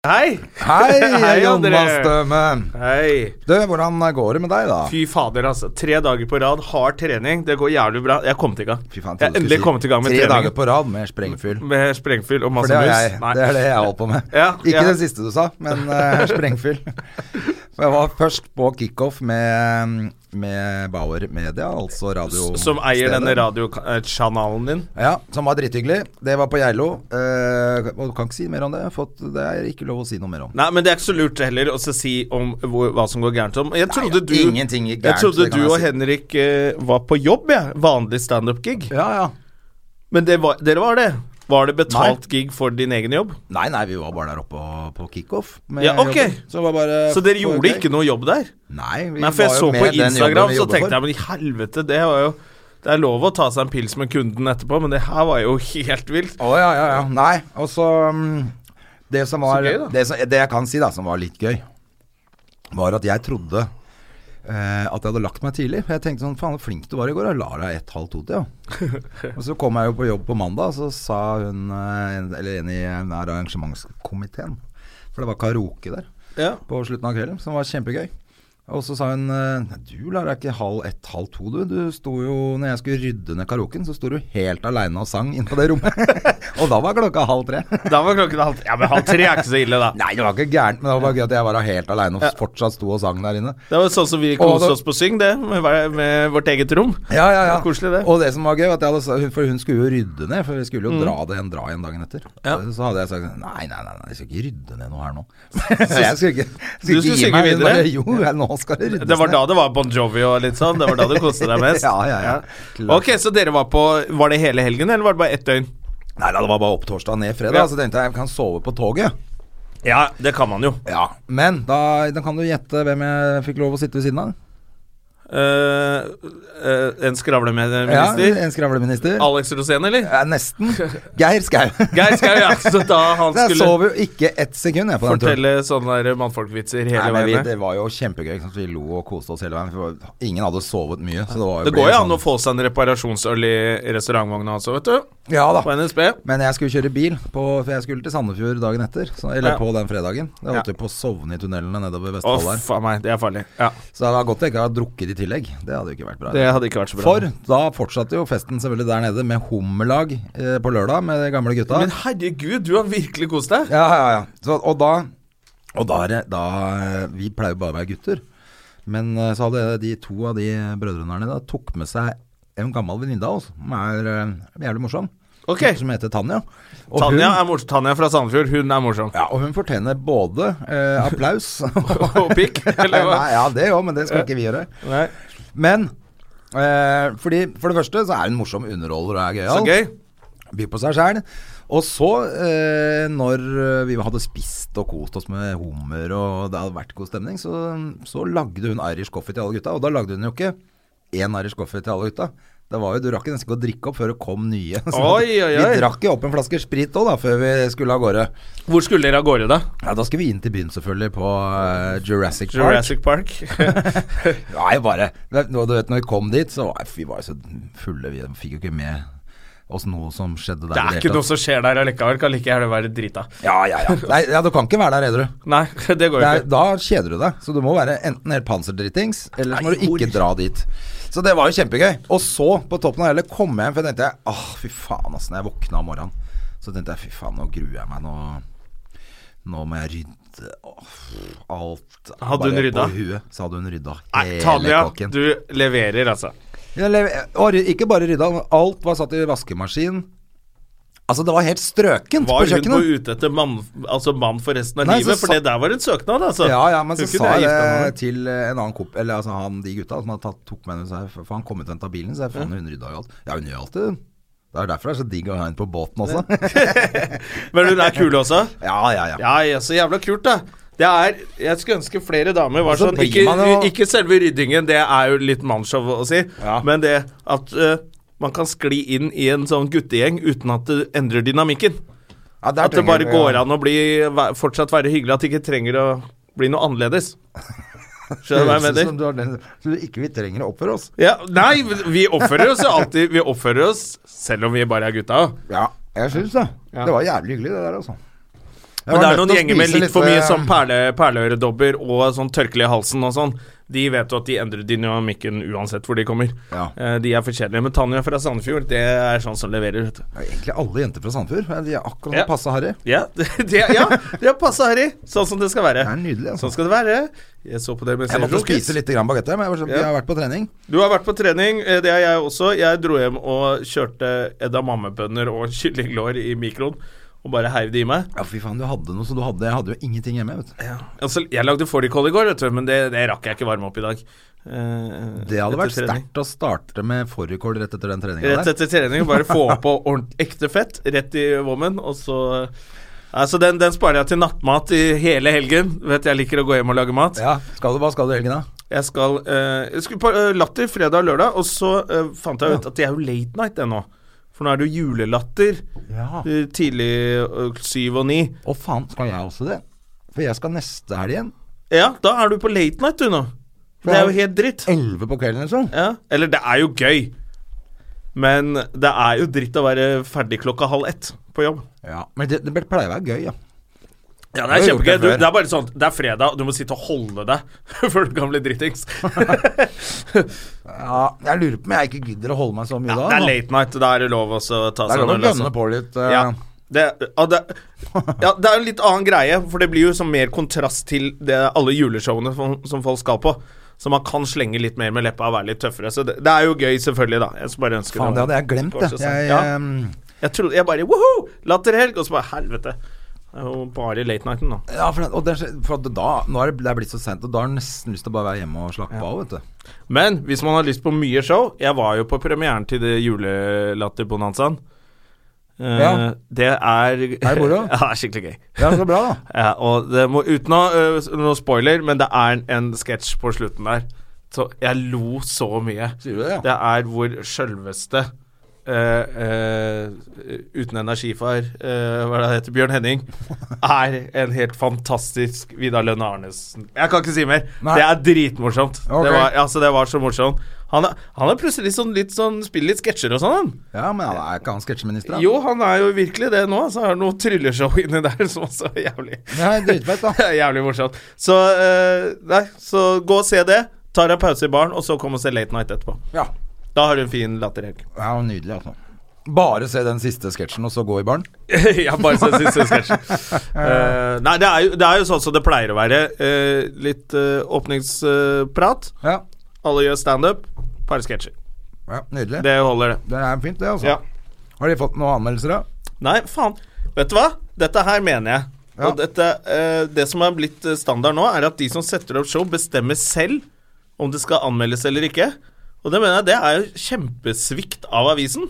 Hei! Hei, Hei, André. Jonas Døme. Hei. Du, hvordan går det med deg, da? Fy fader, altså. Tre dager på rad, hard trening. Det går jævlig bra. Jeg er kommet i gang. Fy faen, jeg trodde er du endelig skulle si kommet i gang med Tre trening. dager på rad med sprengfyll. Med sprengfyll og Mm. For masse det, har mus. jeg, Nei. det er det jeg holder på med. Ja, Ikke ja. den siste du sa, men eh, sprengfyll. For jeg var først på kickoff med, med Bauer Media, altså radio... Som eier denne radiokanalen din. Ja, som var drithyggelig. Det var på Geilo. Eh, og kan ikke si mer om det. Fått, det er ikke lov å si noe mer om. Nei, men det er ikke så lurt heller å så si om hvor, hva som går gærent om. Jeg trodde ja, du, ingenting gikk jeg gærent, trodde det du kan jeg og si. Henrik eh, var på jobb, jeg. Vanlig standup-gig. Ja, ja. Men det var, dere var det. Var det betalt gig for din egen jobb? Nei, nei, vi var bare der oppe og- på kickoff. med Ja, ok. jobben. Så, det var bare, Så dere gjorde ikke noe jobb der? Nei, vi Nei, for jeg var jo så med på den jobben Instagram, vi så jobber for. tenkte jeg men i helvete, det var jo Det er lov å ta seg en pils med kunden etterpå, men det her var jo helt vilt. Å ja, ja, ja. Nei, og så mm, Det som var gøy, da. det, som, det jeg kan si, da, som var litt gøy, var at jeg trodde eh, at jeg hadde lagt meg tidlig. For jeg tenkte sånn Faen, så flink du var i går. Jeg la deg ett, halv to til, ja. og så kom jeg jo på jobb på mandag, og så sa hun eh, en- Eller en i den her arrangementskomiteen, for det var karaoke der Ja. på slutten av kvelden, som var kjempegøy. Og så sa hun eh, Nei, du lar deg ikke halv ett, halv to, du. Du sto jo Når jeg skulle rydde ned karaoken, så sto du helt aleine og sang inne på det rommet. og da var klokka halv tre. Da var klokken halv Ja, men halv tre er ikke så ille, da. Nei, det var ikke gærent, men det var bare gøy at jeg var helt aleine og fortsatt sto og sang der inne. Det var sånn som vi Og da- koste oss på Syng, det. Med, hver- med vårt eget rom. Ja, ja, ja. Det var koselig, det. Mm. Og det som var gøy, var at jeg hadde, sa- for hun skulle jo rydde ned, for vi skulle jo dra det en dra igjen dagen etter. Ja. Så hadde jeg sagt nei, nei, nei, nei, jeg skal ikke rydde ned noe her nå. Så jeg skulle ikke, Du skulle skulle ikke gi synge meg. hun videre? Bare, jo, jeg- nå skal det ryddes Det var ned. da det var Bon Jovi og litt sånn. Det var da du koste deg mest. Ja, ja, ja. Klart. Ok, så dere var på Var det hele helgen, eller var det bare ett døgn? Nei, da, det var bare opp torsdag ned fredag. Ja. Så tenkte jeg jeg kan sove på toget. Ja, det kan man jo. Ja, Men da, da kan du gjette hvem jeg fikk lov å sitte ved siden av. Eh, eh, en skravleminister? Ja, En skravleminister. Alex Rosén, eller? Ja, nesten. Geir Skau. Geir Skau, ja. Så da han Så jeg skulle sov jo ikke ett sekund jeg på den turen. fortelle sånne der mannfolkvitser hele Nei, men vi, veien. det var jo kjempegøy. Ikke sant? Vi lo og koste oss hele veien. for det var- Ingen hadde sovet mye. Så det, var jo Det ble går jo an sånn- å få seg en reparasjonsøl i restaurantvogna også, vet du. Ja da. På NSB. Men jeg skulle kjøre bil, på, for jeg skulle til Sandefjord dagen etter. Så, Ja. eller på den fredagen. Jeg holdt Ja. jo på å sovne i tunnelene Å, nedover Vestfold der. faen meg, det er farlig. Ja, Så det var godt jeg ikke har drukket i tillegg. Det hadde jo ikke vært bra. Det hadde ikke vært så bra. For da fortsatte jo festen selvfølgelig der nede med hummerlag eh, på lørdag med de gamle gutta. Men herregud, du har virkelig kost deg. Ja, ja, ja. Så, og da, og da, er det- da eh, Vi pleier jo bare å være gutter. Men eh, så hadde de to av de brødrene her nede da, tok med seg en gammel venninne av oss som er eh, jævlig morsom. Ok. Som heter Tanja. Og Tanja, hun, er mors Tanja fra Sandefjord, hun er morsom. ja, og hun fortjener både eh, applaus Og pikk, eller hva? Nei, ja, det òg, men det skal ikke vi gjøre. Nei. Men eh, fordi, for det første så er hun morsom underholder og er Så gøyal. gøy. By på seg sjæl. Og så, eh, når vi hadde spist og kost oss med hummer og det hadde vært god stemning, så, så lagde hun Irish coffee til alle gutta. Og da lagde hun jo ikke én Irish coffee til alle gutta. Det var jo, Du rakk jo nesten ikke å drikke opp før det kom nye. Oi, oi, oi. Vi drakk jo opp en flaske sprit òg, da, før vi skulle av gårde. Hvor skulle dere av gårde, da? Ja, Da skulle vi inn til byen, selvfølgelig, på eh, Jurassic Park. Jurassic Park. Nei, bare Nå, Du vet, når vi kom dit, så var vi var jo så fulle. Vi fikk jo ikke med oss noe som skjedde der. Det er i det ikke hele noe tatt. som skjer der allikevel. Kan like gjerne være drita. Ja, ja, ja. Nei, ja, du kan ikke være der, edru. Nei, det går Det jo er- ikke. Da kjeder du deg. Så du må være enten helt panserdritings, eller så må du ikke dra dit. Så det var jo kjempegøy. Og så, på toppen av det hele, kom jeg hjem, for jeg tenkte Åh, fy faen, ass. Når jeg våkna om morgenen, så tenkte jeg fy faen, nå gruer jeg meg. Nå, nå må jeg rydde Åh, alt. Hadde hun bare rydda? På huet. Så hadde hun rydda Nei, hele Tanja, kåken. du leverer, altså. Jeg lev- og ry- Ikke bare rydda, men alt var satt i vaskemaskin. Altså, det var helt strøkent på Var hun kjøkkenet. på ute etter mann, altså mann for resten av Nei, så livet? For sa- det der var en søknad, altså. Ja, ja, men så Hun kunne sa ha gifta med jeg henne. til en annen kopp Eller altså han, de gutta som hadde tatt, tok med henne, så jeg- for han kom ut og henta bilen, så jeg faen, hun rydda jo alt. Ja, hun gjør alltid det. Det er derfor det er så digg å ha en på båten også. Men hun er kul også? ja, ja, ja. Ja, ja, så jævla kult, da. Det er, jeg skulle ønske flere damer var Og så sånn blir ikke, man jo- ikke selve ryddingen, det er jo litt mannsshow å si, Ja. men det at eh, man kan skli inn i en sånn guttegjeng uten at det endrer dynamikken. ja der At det trenger bare vi- går an å bli, væ- fortsatt være hyggelig, at det ikke trenger å bli noe annerledes. Skjønner du hva jeg Høres ut mener? som du har den- som du ikke vi trenger å oppføre oss. Ja, nei, vi oppfører oss jo alltid Vi oppfører oss selv om vi bare er gutta. Ja, jeg syns det. Ja. Det var jævlig hyggelig, det der, altså. Men Jeg var det nødt er noen til å gjenger med spise litt for mye eh, sånn perle, perleøredobber og sånn tørkle i halsen og sånn. De vet jo at de endrer dynamikken uansett hvor de kommer. Ja. Eh, De er for kjedelige. Men Tanja fra Sandefjord, det er sånn som leverer, vet du. ja, Egentlig alle jenter fra Sandefjord. De er akkurat Ja. ja. passe harry. Ja, det, det- ja, det har passa, Harry. Sånn som det skal være. Det er nydelig, altså. Sånn skal det være. Jeg så på det med Jeg måtte Zero Kids. spise litt grann bagette, men jeg var så, vi Ja. har vært på trening. Du har vært på trening, eh, det har jeg også. Jeg dro hjem og kjørte edamammebønner og kyllinglår i mikroen. Og bare heiv det i meg. Ja, fy faen, du hadde noe, så du hadde Jeg hadde jo ingenting hjemme, vet du. Altså, jeg lagde fårikål i går, vet du, men det, det rakk jeg ikke varme opp i dag. Eh, Det hadde etter vært trening. sterkt å starte med fårikål rett etter den treninga Rett der. etter trening, bare få på ordent, ekte fett rett i vommen, og så Altså, den, den sparer jeg til nattmat i hele helgen. Du Vet jeg liker å gå hjem og lage mat. Ja, skal du, Hva skal du i helgen, da? Jeg skal eh, Jeg skulle på eh, Latter fredag og lørdag, og så eh, fant jeg ut at det er jo late night ennå. For nå er det jo julelatter Ja. eh, tidlig eh, syv og ni. Å faen, skal jeg også det? For jeg skal neste helg igjen. Ja, da er du på late night, du nå. Det er jo helt dritt. Elleve på kvelden, liksom. Ja. Eller det er jo gøy, men det er jo dritt å være ferdig klokka halv ett på jobb. Ja. Men det, det pleier å være gøy, ja. Ja, det Jeg er har gjort kjempegøy. det Du, før. det er bare sånn Det er fredag, og du må sitte og holde deg før du kan bli drittings. ja. Jeg lurer på om jeg ikke gidder å holde meg så mye Ja, da. det er nå. late night, da er det lov også å ta Det seg er en lov å øl, altså. gønne på litt. eh, Ja. Det, ja, det, ja, det er en litt annen greie, for det blir jo som mer kontrast til det, alle juleshowene som, som folk skal på. Så man kan slenge litt mer med leppa og være litt tøffere. Så det, det er jo gøy, selvfølgelig, da. Jeg skulle bare ønske Faen, det hadde jeg glemt, det. Kanskje sånn. Jeg, Ja. ehm, Jeg trodde jeg bare woho! Latterhelg! Og så bare helvete. Det er jo bare late nighten, da. ja, for, det- og det, er så- for at da, nå er det, det er blitt så sent, og da har jeg nesten lyst til å bare være hjemme og slappe av, vet du. Men hvis man har lyst på mye show Jeg var jo på premieren til det julelatterbonanzaen. Eh, Ja. Det er Er det moro? Ja, det er skikkelig gøy. Ja, så bra, da. Ja, og det må, uten å, øh, s- noe spoiler, men det er en, en sketsj på slutten der. Så jeg lo så mye. Sier du det, ja? Det er hvor sjølveste øh, øh, Uten energifar, øh, hva er det han heter, Bjørn Henning, er en helt fantastisk Vidar Lønn Arnesen. Jeg kan ikke si mer. Nei. Det er dritmorsomt. Ok. Det, var, altså, det var så morsomt. Han er, han er plutselig sånn, litt sånn Spiller litt sketsjer og sånn, han. Ja, men han er ikke han sketsjeminister, da? Jo, han er jo virkelig det nå. Så er det noe trylleshow inni der som også er jævlig Nei, dritfett, da. det er jævlig morsomt. Så, eh, nei, så gå og se det. Ta deg en pause i baren, og så kom og se Late Night etterpå. Ja. Da har du en fin latterhelg. ja, nydelig, altså. Bare se den siste sketsjen, og så gå i baren. ja, bare se siste sketsj. Eh, nei, det er, jo, det er jo sånn som det pleier å være. Eh, litt eh, åpningsprat. Ja. Alle gjør standup. Par sketsjer. ja nydelig. Det. Det holder, det. er fint, det, altså. Ja. Har de fått noen anmeldelser, da? Nei, faen. Vet du hva? Dette her mener jeg. Ja. Og dette, eh, det som er blitt eh, standard nå, er at de som setter opp show, bestemmer selv om det skal anmeldes eller ikke. Og det mener jeg, det er jo kjempesvikt av avisen.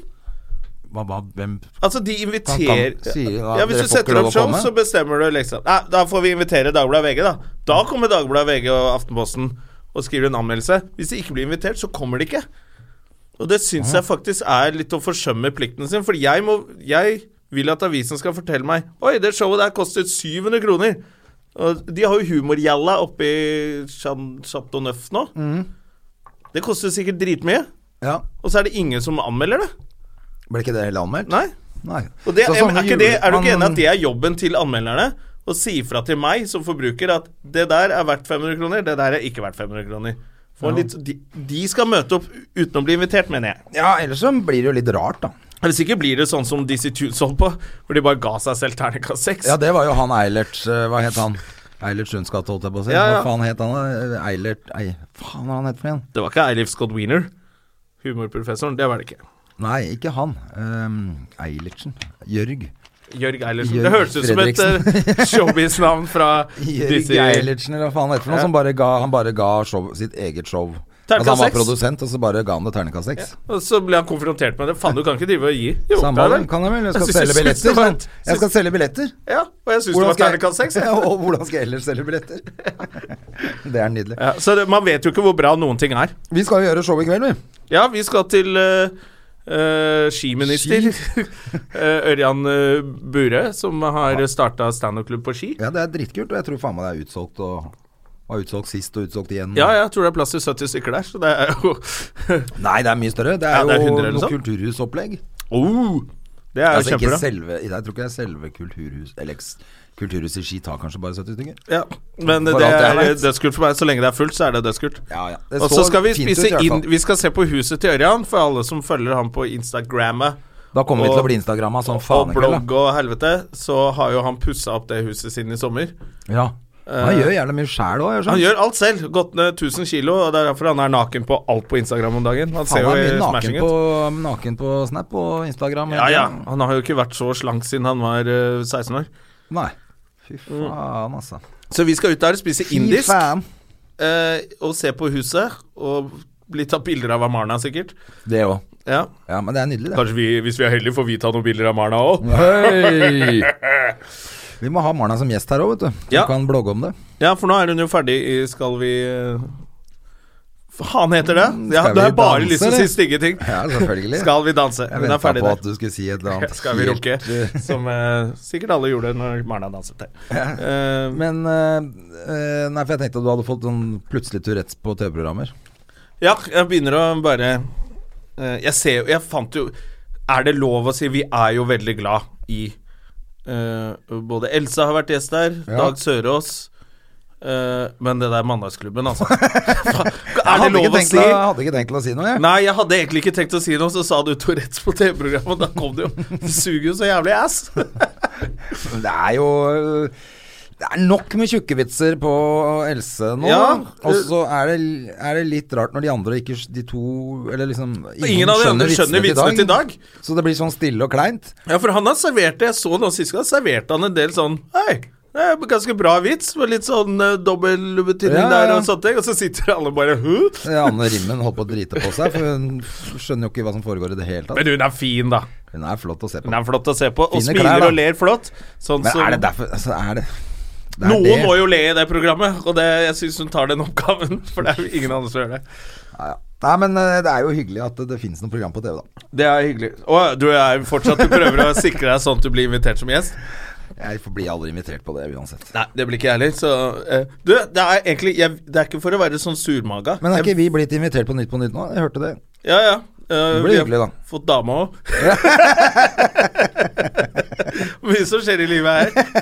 Hva, hva, hvem Altså, de inviterer kan- sier da at Ja, Hvis du dere får ikke setter lov opp å show, komme. så bestemmer du liksom Nei, da får vi invitere Dagbladet VG, da. Da kommer Dagbladet VG og Aftenposten og skriver en anmeldelse. Hvis de ikke blir invitert, så kommer de ikke. Og det syns jeg faktisk er litt å forsømme plikten sin, for jeg må Jeg vil at avisen skal fortelle meg Oi, det showet der kostet 700 kroner. Og de har jo humorgjalla oppe i Chan- Chateau Neuf nå. Mm. Det koster sikkert dritmye. Ja, Og så er det ingen som anmelder det. Ble ikke det heller anmeldt? Nei. Nei. Og det, Så er, sånne er, ikke det, er du ikke jule- enig at det er jobben til anmelderne? Å si ifra til meg som forbruker at det der er verdt 500 kroner, det der er ikke verdt 500 kroner. Få litt, de, de skal møte opp uten å bli invitert, mener jeg. Ja, ellers så blir det jo litt rart, da. Hvis ikke blir det sånn som Dizzie Tunes holdt på, hvor de bare ga seg selv terningkast seks. Ja, det var jo han Eilert eh, Hva het han? Eilert Sundsgaard, holdt jeg på å si. Ja, ja. Hva faen het han? da? Eilert Ei, Faen, hva er han het for igjen? Det var ikke Eilif Scott Wiener, humorprofessoren. Det var det ikke. Nei, ikke han. Ehm, Eilertsen. Jørg. Jørg Eilertsen. Jørg Det høres ut som et eh, showbiz-navn fra Jørg Dizzie. Eilertsen, eller hva faen heter det for noe, som bare ga, han bare ga show, sitt eget show. Altså, han var Terningkast seks. produsent, og så bare ga han det terningkast seks. Og så ble han konfrontert med det. Faen, du kan ikke drive og gi. Jo, Samme det er av det, det. kan jeg vel. Jeg skal synes- synes selge det billetter. var- sånn. Jeg skal selge billetter. Ja, og jeg syns det var terningkast seks. jeg. Ja, og hvordan skal jeg ellers selge billetter? det er nydelig. Ja, så det, man vet jo ikke hvor bra noen ting er. Vi skal jo gjøre show i kveld, vi. Ja, vi skal til eh, eh, skiminister Eh, Ørjan eh, Burøe, som har starta standup-klubb på ski. Ja, det er dritkult, og jeg tror faen meg det er utsolgt og var utsolgt sist og utsolgt igjen. Ja, jeg tror det er plass til 70 stykker der, så det er jo Nei, det er mye større. Det er, Ja, det er jo 100 eller noe sånn. kulturhusopplegg. oh, Det er jo Altså ikke kjempebra. selve Jeg tror ikke det er selve kulturhus Eller eks- kulturhus i Ski tar kanskje bare 70 stykker. Ja, men For det alt jeg er vet. dødskult for meg. Så lenge det er fullt, så er det dødskult. Ja, ja. Det Og så så skal vi fint ut i spise hvert inn fall. Vi skal se på huset til Ørjan, for alle som følger ham på Instagrammet. Da kommer vi og- til å bli Instagramma som og faen i kveld. blogg og helvete, så har jo han pussa opp det huset siden i sommer. da. Ja. Han gjør jævla mye sjæl òg, Eh, Han gjør alt selv. Gått ned 1000 kilo, og det er derfor han er naken på alt på Instagram om dagen. Han ser jo Han er mye naken smashing på, ut. naken på Snap og Instagram. Ja, ja. Han har jo ikke vært så slank siden han var eh, 16 år. Nei. Fy faen, altså. Så vi skal ut der og spise Fy Mm. indisk faen. eh, og se på huset. Og bli tatt bilder av av Marna, sikkert. Det òg. Ja. Ja, men det er nydelig, det. Kanskje vi, hvis vi er heldige, får vi ta noen bilder av Marna òg. Hei! Vi må ha Marna som gjest her òg, vet du. Du Ja. kan blogge om det. Ja, for nå er hun jo ferdig i Skal vi eh, Faen heter det? Ja, Mm, Skal du vi har bare danse, lyst til å eller? si stygge ting. Ja, selvfølgelig. Skal vi danse? jeg Hun er venta ferdig på der. at du skulle si et eller annet. Skal vi helt- runke? Som eh, sikkert alle gjorde når Marna danset der. Eh, Men eh, eh, Nei, for jeg tenkte at du hadde fått sånn plutselig Tourettes på TV-programmer. ja, jeg begynner å bare eh, Jeg ser jo Jeg fant jo Er det lov å si Vi er jo veldig glad i eh, Både Elsa har vært gjest der, Ja. Dag Sørås eh, Men det der mandagsklubben, altså. Faen, er det lov Jeg hadde ikke å tenkt si? Jeg hadde ikke tenkt til å si noe, jeg. Nei, jeg hadde egentlig ikke tenkt å si noe, så sa du Tourettes på TV-programmet, og da kom det jo Det suger jo så jævlig ass. Men Det er jo øh, Det er nok med tjukkevitser på Else nå. Ja. og så er, det- er det litt rart når de andre ikke De to Eller liksom Ingen av de andre skjønner vitsene til Dag. Så det blir sånn stille og kleint. Ja, for han har servert det. Jeg så noe sist gang. Serverte han en del sånn Hei, det er ganske bra vits. Med litt sånn uh, dobbel betydning Ja, ja, der ja. og sånne ting. Og så sitter alle bare Hå? Eh, Anne Rimmen holdt på å drite på seg, for hun skjønner jo ikke hva som foregår i det hele tatt. Men hun er fin, da. Hun er flott å se på. Hun er flott å se på. Og Fine klær, smiler da. og ler flott. Sånn Men som er det derfor Altså, er det, det er Noen det. må jo le i det programmet, og det, jeg syns hun tar den oppgaven. For det er jo ingen andre som gjør det. Ja, ja. Nei, men eh, det er jo hyggelig at det, det finnes noe program på TV, da. Det er hyggelig. Og du er fortsatt Du prøver å sikre deg sånn at du blir invitert som gjest? Jeg får- blir aldri invitert på det uansett. Nei, det blir ikke jeg heller. Så eh, Du, det er egentlig jeg, Det er ikke for å være sånn surmaga. Men er Jeg- ikke vi blitt invitert på Nytt på Nytt nå? Jeg hørte det. Ja, ja. Eh, Det vi blir har hyggelig, da. Fått dame òg. Mye som skjer i livet her.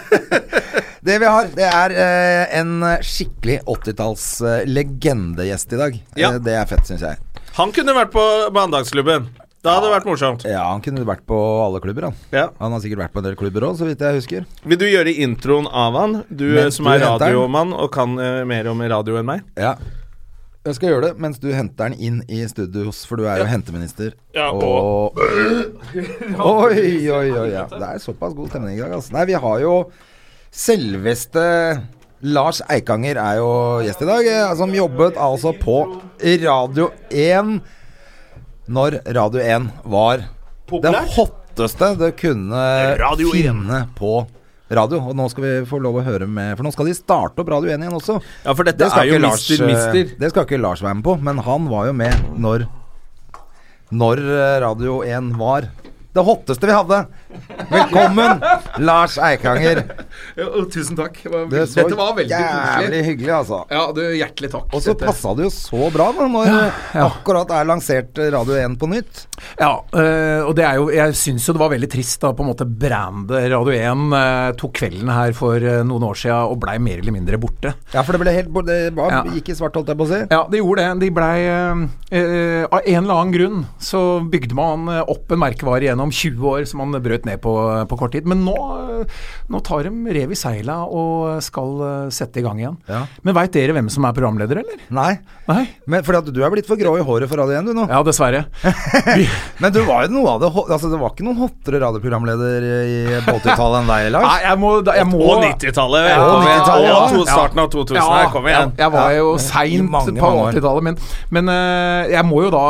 Det vi har, det er eh, en skikkelig 80-talls eh, legendegjest i dag. Ja. Eh, det er fett, syns jeg. Han kunne vært på mandagsklubben. Da hadde det vært morsomt. Ja, han kunne vært på alle klubber, han. Ja. Han har sikkert vært på en del klubber òg, så vidt jeg husker. Vil du gjøre introen av han? Du eh, Mens som du er henter den. radiomann og kan eh, mer om radio enn meg. Ja. Jeg skal gjøre det mens du henter den inn i studio, hos- for du er jo henteminister. Ja, og Oi, oi, oi. Ja. Det er såpass god stemning i dag, altså. Nei, vi har jo selveste Lars Eikanger er jo gjest i dag, eh, som jobbet altså på Radio 1 når Radio 1 var det hotteste det kunne Radio 1. finne på radio. Og nå skal vi få lov å høre med For nå skal de starte opp Radio 1 igjen også. Ja, for dette Det skal, er jo ikke Lars, Mister Mister. eh, det skal ikke Lars være med på, men han var jo med når Når eh, Radio 1 var det hotteste vi hadde. Velkommen, Lars Eikanger. Ja, og tusen takk. Det var Det veld- så Dette var veldig jævlig koselig. hyggelig, altså. Ja, du, hjertelig takk. Og så Dette- passa det jo så bra da, når eh, akkurat er lansert eh, Radio 1 på nytt. Ja, eh, og det er jo Jeg syns jo det var veldig trist da på en måte brandet Radio 1 eh, tok kvelden her for eh, noen år siden og blei mer eller mindre borte. Ja, for det ble helt Det var, Ja. gikk i svart, holdt jeg på å si. Ja, det gjorde det. De blei eh, eh, Av en eller annen grunn så bygde man eh, opp en merkevare gjennom 20 år som man brøt røyt ned på, på kort tid. Men nå, eh, nå tar de rev i seila og skal eh, sette i gang igjen. Ja. Men veit dere hvem som er programleder, eller? Nei. Nei? Men fordi at du er blitt for grå i håret for Radio 1, du nå. Ja, dessverre. Men du var jo noe av det ho- Altså, det var ikke noen hottere radioprogramleder i på 80-tallet enn deg, Lars. Nei, jeg må, da- jeg må Og 90-tallet. Ja, kom igjen. 90-tallet, Og to- ja. starten av 2000. Ja, her, kom igjen. Jeg, jeg var jo Ja. I seint mange, på mange år. 80-tallet, men, men eh, jeg må jo da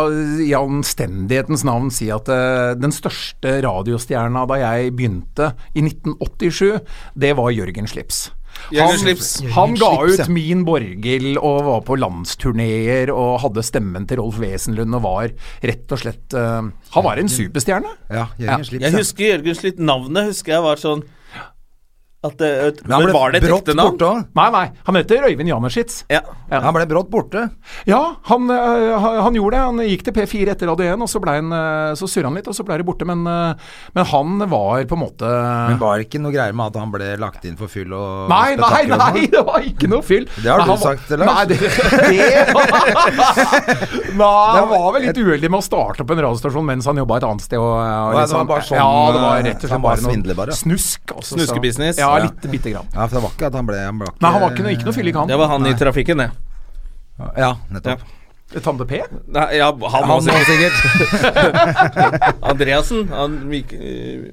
i anstendighetens navn si at eh, den største radiostjerna da jeg begynte i 1987, det var Jørgen Slips. Jørgen Slips. han ga Slips, ja. ut Min Borghild og var på landsturneer og hadde stemmen til Rolf Wesenlund og var rett og slett eh, Han var en superstjerne. Ja, Ja. Jørgen Slips. Jeg ja. husker Jørgen Slitt. Navnet husker jeg var sånn at det, Men han Men ble var det et brått ekte navn? borte også. Nei, nei. Han heter Øyvind Janerschitz. Ja. Ja. Han ble brått borte. Ja, han, øh, han han gjorde det. Han gikk til P4 etter Radio 1, og så, ble han, øh, så surra han litt, og så ble det borte. Men, øh, men han var på en måte Men var det ikke noe greier med at han ble lagt inn for fyll og Nei, nei, spetakkel og sånn? nei, det var ikke noe fyll. Det har du Men han var- sagt, Lars. Nei, det, det Nei, han var vel litt uheldig med å starte opp en radiostasjon mens han jobba et annet sted. Og, og Nei, litt det var sånn- bare sånn, ja, det var han rett og slett var bare noe svindler bare. snusk. altså, så- Snuskebusiness. Ja, Ja. litt, bitte grann. Ja, for det var ikke at han ble, han ble ikke, Nei, han var ikke noe, ikke noe fyllik, han. Det var han i trafikken, det. Ja, nettopp. Tande P? Nei, ja, han Han også. var sikkert Andreassen. Han, Mik øh,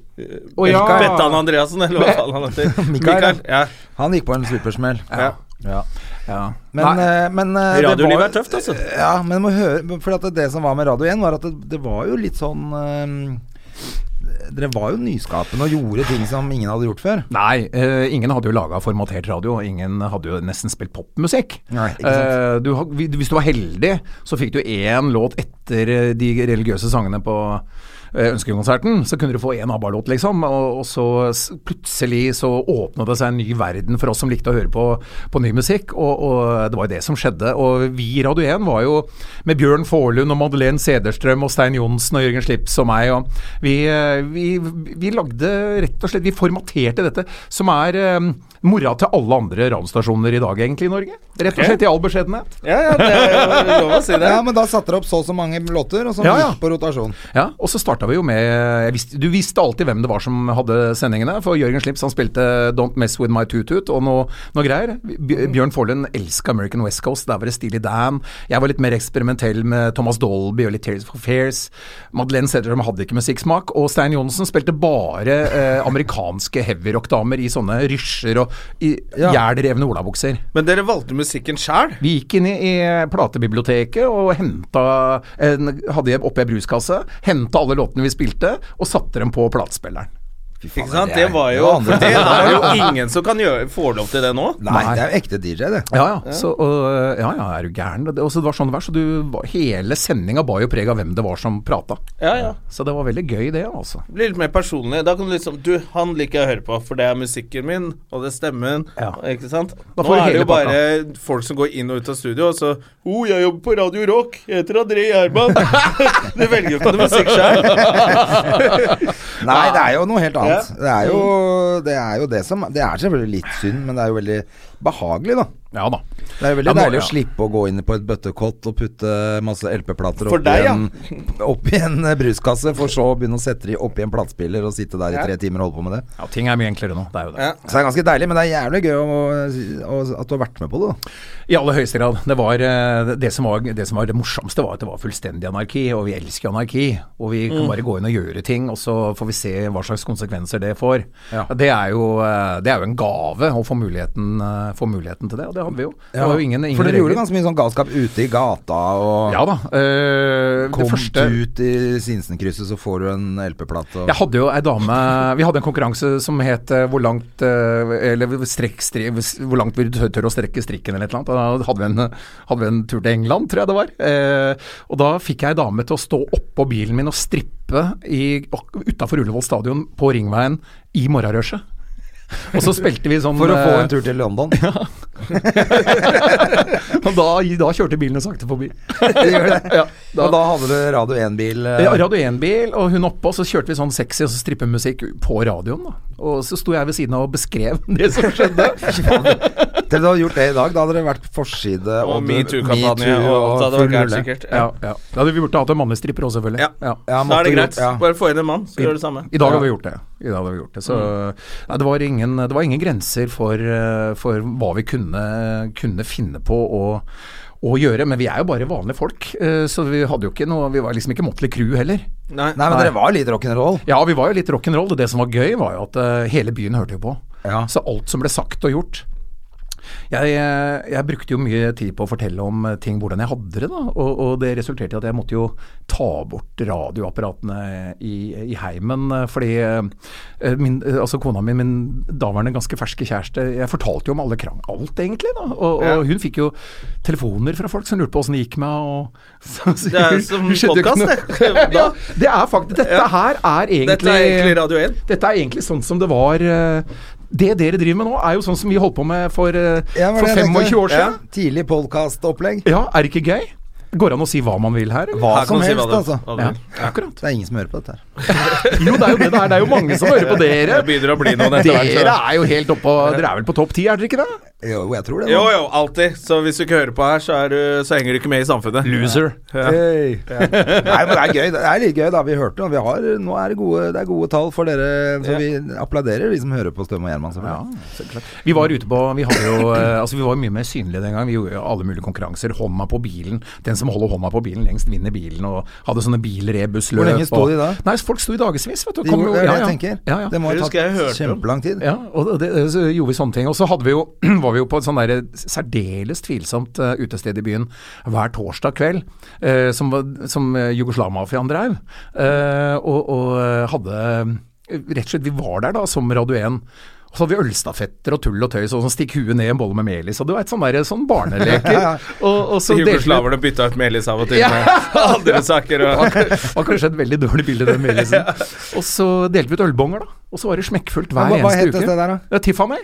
Å, ja. Bettan Andreassen, eller hva faen han heter. Mikael. Ja. Han gikk på en supersmell. Ja. Ja. Ja. Men, Nei. eh, men eh, det Radiolivet var- er tøft, altså. Ja, men må høre For at det som var med Radio 1, var at det, det var jo litt sånn eh, Dere var jo nyskapende og gjorde ting som ingen hadde gjort før. Nei, eh, ingen hadde jo laga formatert radio, og ingen hadde jo nesten spilt popmusikk. Nei, ikke sant. Eh, du, ha- vi- hvis du var heldig, så fikk du én låt etter eh, de religiøse sangene på eh, Ønskekonserten. Så kunne du få én ABBA-låt, liksom. Og, og så s- plutselig så åpna det seg en ny verden for oss som likte å høre på, på ny musikk. Og, og det var jo det som skjedde. Og vi i Radio 1 var jo med Bjørn Forlund og Madeleine Sederstrøm og Stein Johnsen og Jørgen Slips og meg. Og vi, eh, vi, vi lagde rett og slett Vi formaterte dette, som er eh, mora til alle andre radiostasjoner i dag, egentlig, i Norge. Rett og slett i all beskjedenhet. Ja, ja, det er jo lov å si det. Ja, men da satte dere opp så og så mange låter, og så Ja, ja. gikk på rotasjon. Ja, og så starta vi jo med jeg visste, Du visste alltid hvem det var som hadde sendingene. For Jørgen Slips han spilte 'Don't Mess With My Tutut' og noe, noe greier. Bj- Bjørn Forlund elska American West Coast. Der var det Steely Dan. Jeg var litt mer eksperimentell med Thomas Dolby og litt Tears for Fears. Madeleine Sederstrøm hadde ikke musikksmak. Og Stein Johnsen spilte bare eh, amerikanske heavyrock-damer i sånne rysjer og i Ja. jælrevne olabukser. Men dere valgte musikken sjæl. Vi gikk inn i, i platebiblioteket og henta en, Hadde oppi ei bruskasse, henta alle låtene vi spilte, og satte dem på platespilleren. Ikke sant? Det var jo det var andre Det er jo ingen som kan gjøre, få lov til det nå. Nei, det er jo ekte DJ, det. Ja ja, så, og, eh, ja, ja, er du gæren? Og det, og så det var sånn det var, så du, var- hele sendinga bar jo preg av hvem det var som prata. Ja, ja. Så det var veldig gøy, det, altså. Bli litt mer personlig. Da kan du liksom Du, han liker jeg å høre på, for det er musikken min, og det er stemmen. Ja. Ikke sant? Da Nå får du er det hele jo bare folk som går inn og ut av studio, og så Å, oh, jeg jobber på Radio Rock. Jeg heter André Gjerman. du velger jo ikke noe musikk sjøl. Nei, det er jo noe helt annet. Det er jo Mm. det, er jo det som Det er selvfølgelig litt synd, men det er jo veldig behagelig, da. Ja da. Det er jo veldig Ja, nå- deilig å ja. slippe å gå inn på et bøttekott og putte masse LP-plater For oppi deg, ja. en, opp i en eh, bruskasse, for så å begynne å sette de oppi en platespiller og sitte der i tre timer og holde på med det. Ja, Ting er mye enklere nå, det er jo det. Ja. Så det er ganske deilig, men det er jævlig gøy å, å, at du har vært med på det. da. I aller høyeste grad. Det, var, eh, det, som var, det som var det morsomste, var at det var fullstendig anarki, og vi elsker anarki. Og vi Mm. kan bare gå inn og gjøre ting, og så får vi se hva slags konsekvenser det får. Ja. Det, er jo, eh, det er jo en gave å få muligheten, eh, få muligheten til det, og det hadde vi jo. Det var jo ingen, ingen for dere gjorde regler. ganske mye sånn galskap ute i gata og Ja da. eh, Kom det første ut i Sinsenkrysset, så får du en LP-plate. og- Jeg hadde jo ei dame Vi hadde en konkurranse som het eh, hvor langt eh, Eller strekk, stri, hvor langt vi tør, tør å strekke strikken eller et eller annet. Og Da hadde vi, en, hadde vi en tur til England, tror jeg det var. Eh, og da fikk jeg ei dame til å stå oppå bilen min og strippe utafor Ullevål stadion på Ringveien i morgenrushet. Og så spilte vi sånn For å få eh, en tur til London. og da, da kjørte bilene sakte forbi. Det gjør det. Ja, da- Og da hadde du Radio eh, 1-bil. Ja, Radio 1-bil, og hun oppå, så kjørte vi sånn sexy og så strippemusikk på radioen. da Og så sto jeg ved siden av og beskrev det som skjedde. Det Dere hadde gjort det i dag, da hadde det vært forside Og du- metoo-kampanje, metoo og alt hadde vært full gærent rulle. sikkert. Ja, ja. Da hadde vi burde hatt en mannlig stripper òg, selvfølgelig. Ja. Ja, Da er det måtte greit. gjort- ja. Bare få inn en mann, så gjør du det samme. I dag har vi gjort det. I dag har vi gjort det. Så nei, det, var ingen, det var ingen grenser for, eh, for hva vi kunne, kunne finne på å, å gjøre. Men vi er jo bare vanlige folk, eh, så vi hadde jo ikke noe Vi var liksom ikke Motley Crew heller. Nei. Nei, men dere var litt rock'n'roll. Ja, vi var jo litt rock'n'roll. og Det som var gøy, var jo at eh, hele byen hørte jo på. Ja. Så alt som ble sagt og gjort. Jeg, eh, jeg brukte jo mye tid på å fortelle om eh, ting, hvordan jeg hadde det, da. Og, og det resulterte i at jeg måtte jo ta bort radioapparatene i, i heimen. eh, Fordi eh, min, eh, altså kona mi, min daværende ganske ferske kjæreste, jeg fortalte jo om alle krang, alt egentlig, da. Og, og hun fikk jo telefoner fra folk som lurte på åssen det gikk med henne. og- så- så Det er hun- som hun skjønte jo ikke podcast, noe. det. ja, det er faktisk Dette her er egentlig Dette er egentlig Radio 1. Dette er egentlig sånn som det var eh, Det dere driver med nå, er jo sånn som vi holdt på med for, eh, Ja, var for det jeg 25 tenkte. år siden. Ja. Tidlig podkastopplegg. Ja. er det ikke gøy? Går det an å si hva man vil her? eller? Hva Her som kan du si helst, hva du- altså. hva du Ja, vil. akkurat. Det er ingen som hører på dette her. Jo, det er jo det det er. Det er jo mange som hører på dere. Det begynner å bli noen etter hvert, så- Dere er jo helt oppå Dere er vel på topp ti, er dere ikke det? Jo, jeg tror det. Jo, da. jo, alltid. Så hvis du ikke hører på her, så, er du, så henger du ikke med i samfunnet. Loser. Ja. Hey. Nei, men det er gøy. Det er litt gøy, da. Vi hørte og vi har, Nå er det gode, det er gode tall for dere, så Ja. vi applauderer de som hører på Støm og Gjerman. selvfølgelig. Vi var ute på Vi, hadde jo, eh, altså vi var jo mye mer synlige den gangen. Vi gjorde jo alle mulige konkurranser. Hånda på bilen. Den som holder hånda på bilen lengst, vinner bilen. Og hadde sånne bilrebusløp. Hvor lenge sto og- de da? Nei, Folk sto i dagevis. vet du. De Kom gjorde- jo- Det er ja, det jeg ja. tenker. Ja, ja. Det må Det ha husker jeg tatt jeg hørte om. kjempelang tid. Ja, og det, det, så gjorde vi sånne ting. Og så hadde vi jo, var vi jo på et sånn der særdeles tvilsomt eh, utested i byen hver torsdag kveld, eh, som, var- som eh, Jugoslavmafiaen drev. Eh, og, og eh, hadde eh, Rett og slett, vi var der da som Radio 1. Og så hadde vi ølstafetter og tull og tøys, og sånn stikk huet ned i en bolle med melis. Og det var et sånn der, sånn barneleker. og, og så delte vi- Jugoslaverne bytta ut melis av og til Ja. med andre saker. Og, Det var kanskje et veldig dårlig bilde, den melisen. Og så delte vi ut ølbonger, da. Og så var det smekkfullt hver Men hva- hva eneste het uke. det stedet der, da? Ja, Tiffany.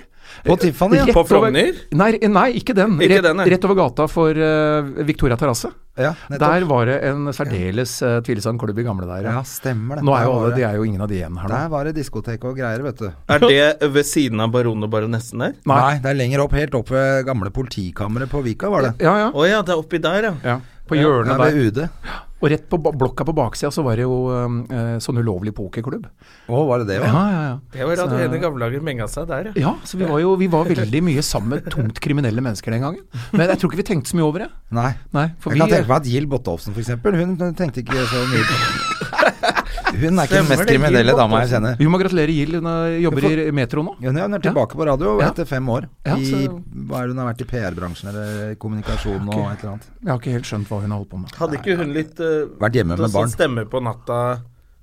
På Tiffany, ja. Rett På over- Frogner? Nei, nei, ikke den. Ikke rett, den, nei. rett over gata for eh, Victoria terrasse. Ja, nettopp. der var det en særdeles eh, tvilsom klubb i gamle dager. Ja, stemmer det. Nå er Der jo var alle, det. det er jo ingen av de igjen her nå. Der var det diskotek og greier, vet du. er det ved siden av baronen og baronessen der? Nei. det er lenger opp. Helt opp ved gamle politikammeret på Vika, var det. Ja, ja. Å ja, det er oppi der, ja. ja. På hjørnet Ja, ved der. UD. Og rett på ba- blokka på baksida så var det jo eh, eh, sånn ulovlig pokerklubb. Å, var det det, Ja, var? ja, ja. Det var Radio 1 i gamle dager menga seg der, ja. Ja, så vi var jo vi var veldig mye sammen med tungt kriminelle mennesker den gangen. Men jeg tror ikke vi tenkte så mye over det. Nei. Nei, for Jeg kan vi eh, tenke meg at Jill Botolfsen, for eksempel, hun tenkte ikke så mye Hun Stemmer er ikke den mest det, Jill kriminelle dama jeg kjenner. Vi må gratulere Jill, hun eh, jobber i Metro nå. Hun er tilbake på radio Ja. etter fem år. Ja, I, så- hva er det hun har vært i PR-bransjen eller kommunikasjon og et eller annet. Jeg har ikke helt skjønt hva hun har holdt på med. Hadde ikke hun litt eh, Vært hjemme med sånn barn. stemme på natta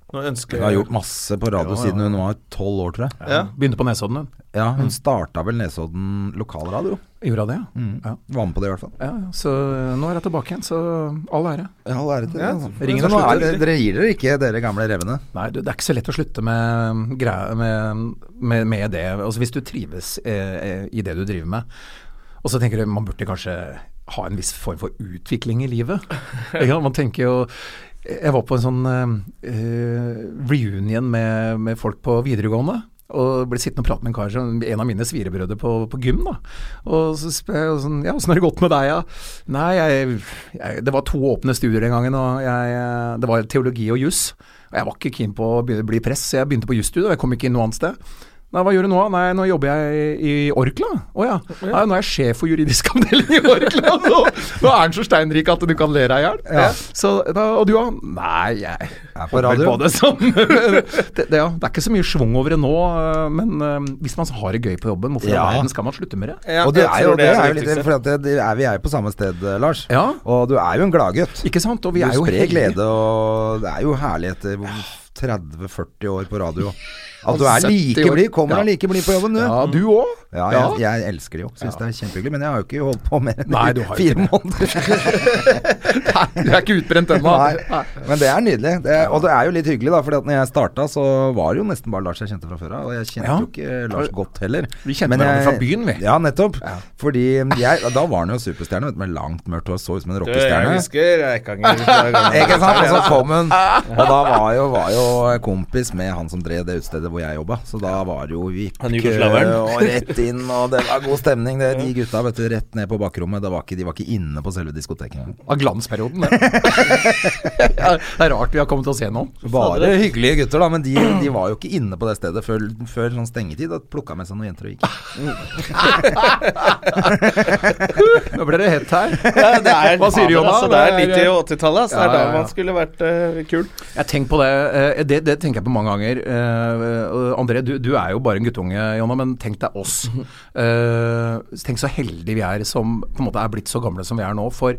Nå ønsker Hun har gjort masse på radio siden hun var tolv år, tror jeg. ja. Begynte på Nesodden, hun. Ja, hun starta vel Nesodden lokalradio. Gjorde hun det, ja. ja. Var med på det, i hvert fall. ja ja, så eh, nå er jeg tilbake igjen, så all ære. Ja, all ære til det. altså. ringen Men er nå er sluttet. det- Dere gir dere ikke, dere gamle revene. Nei, du, det er ikke så lett å slutte med, mm, greie- med, med, med det. Altså, hvis du trives eh, eh, i det du driver med, og så tenker du man burde kanskje ha en viss form for utvikling i livet. Ikke sant? man tenker jo Jeg var på en sånn eh, eh, reunion med, med folk på videregående. Og ble sittende og prate med en kar som en av mine svirebrødre på, på gym. da Og så spør jeg jo sånn Ja, åssen har det gått med deg, da? Nei, jeg, jeg Det var to åpne studier den gangen, og jeg, eh, det var teologi og juss. Og jeg var ikke keen på å begynne- bli press, så jeg begynte på jusstudiet, og jeg kom ikke inn noe annet sted. Nei, hva gjør du nå? Nei, nå jobber jeg i Orkla. Å ja. Nei, nå er jeg sjef for juridisk avdeling i Orkla. Nå, nå er han så steinrik at du kan le deg i hjel. Så da- Og du, da? Nei, jeg Er på radio. det samme. det, det, ja, det er ikke så mye schwung over det nå, eh, men eh, hvis man har det gøy på jobben, hvorfor i Ja. all verden skal man slutte med det? Ja, og du jeg tror er jo det, er jo det litt, viktigste. for at det, det er, vi er jo på samme sted, eh, Lars. Ja. Og du er jo en gladgutt. Ikke sant? Og vi Du er jo sprer heldige. glede, og det er jo herlig etter hvor- 30-40 år på radio. At du er 70 like år. blid, kommer Ja. deg like blid på jobben, du. Ja, du òg? Ja, jeg, jeg elsker det jo. Syns det er kjempehyggelig. Men jeg har jo ikke holdt på mer enn Nei, du har jo fire ikke det. måneder. Du er ikke utbrent ennå. Nei. Men det er nydelig. Det er, og det er jo litt hyggelig, da. For når jeg starta, så var det jo nesten bare Lars jeg kjente fra før av. Og jeg kjente Ja. jo ikke Lars godt heller. Vi kjente Men hverandre jeg- fra byen, vi. Ja, nettopp. Fordi jeg, da var han jo superstjerne, vet du, med langt mørkt hår, så ut som en Du, Jeg rockestjerne. husker Eikanger. fra gamle dager. Ikke sant? Og så kom hun. Og da var jo, var jo kompis med han som drev det utestedet hvor hvor jeg jobba. Så da var det jo vipp Han kø jugoslaveren. og rett inn, og det var god stemning. Det, de gutta vet du, rett ned på bakrommet. Det var ikke, de var ikke inne på selve diskoteket. Av glansperioden, det. det er rart vi har kommet oss gjennom. Bare hyggelige gutter, da. Men de, de var jo ikke inne på det stedet før, før sånn stengetid. Da plukka med seg noen jenter og gikk. Ah, Nå ble det hett her. Ja, det er, Hva sier Jonna? Altså, det er Det er- litt i 80-tallet. Altså, Det Ja, er ja, da ja. man skulle vært eh, kul. Jeg tenker på det, eh, det, det tenker jeg på mange ganger. Eh, og André, du, du er jo bare en guttunge, Jonna, men tenk deg oss. Eh, tenk så heldige vi er som på en måte er blitt så gamle som vi er nå. For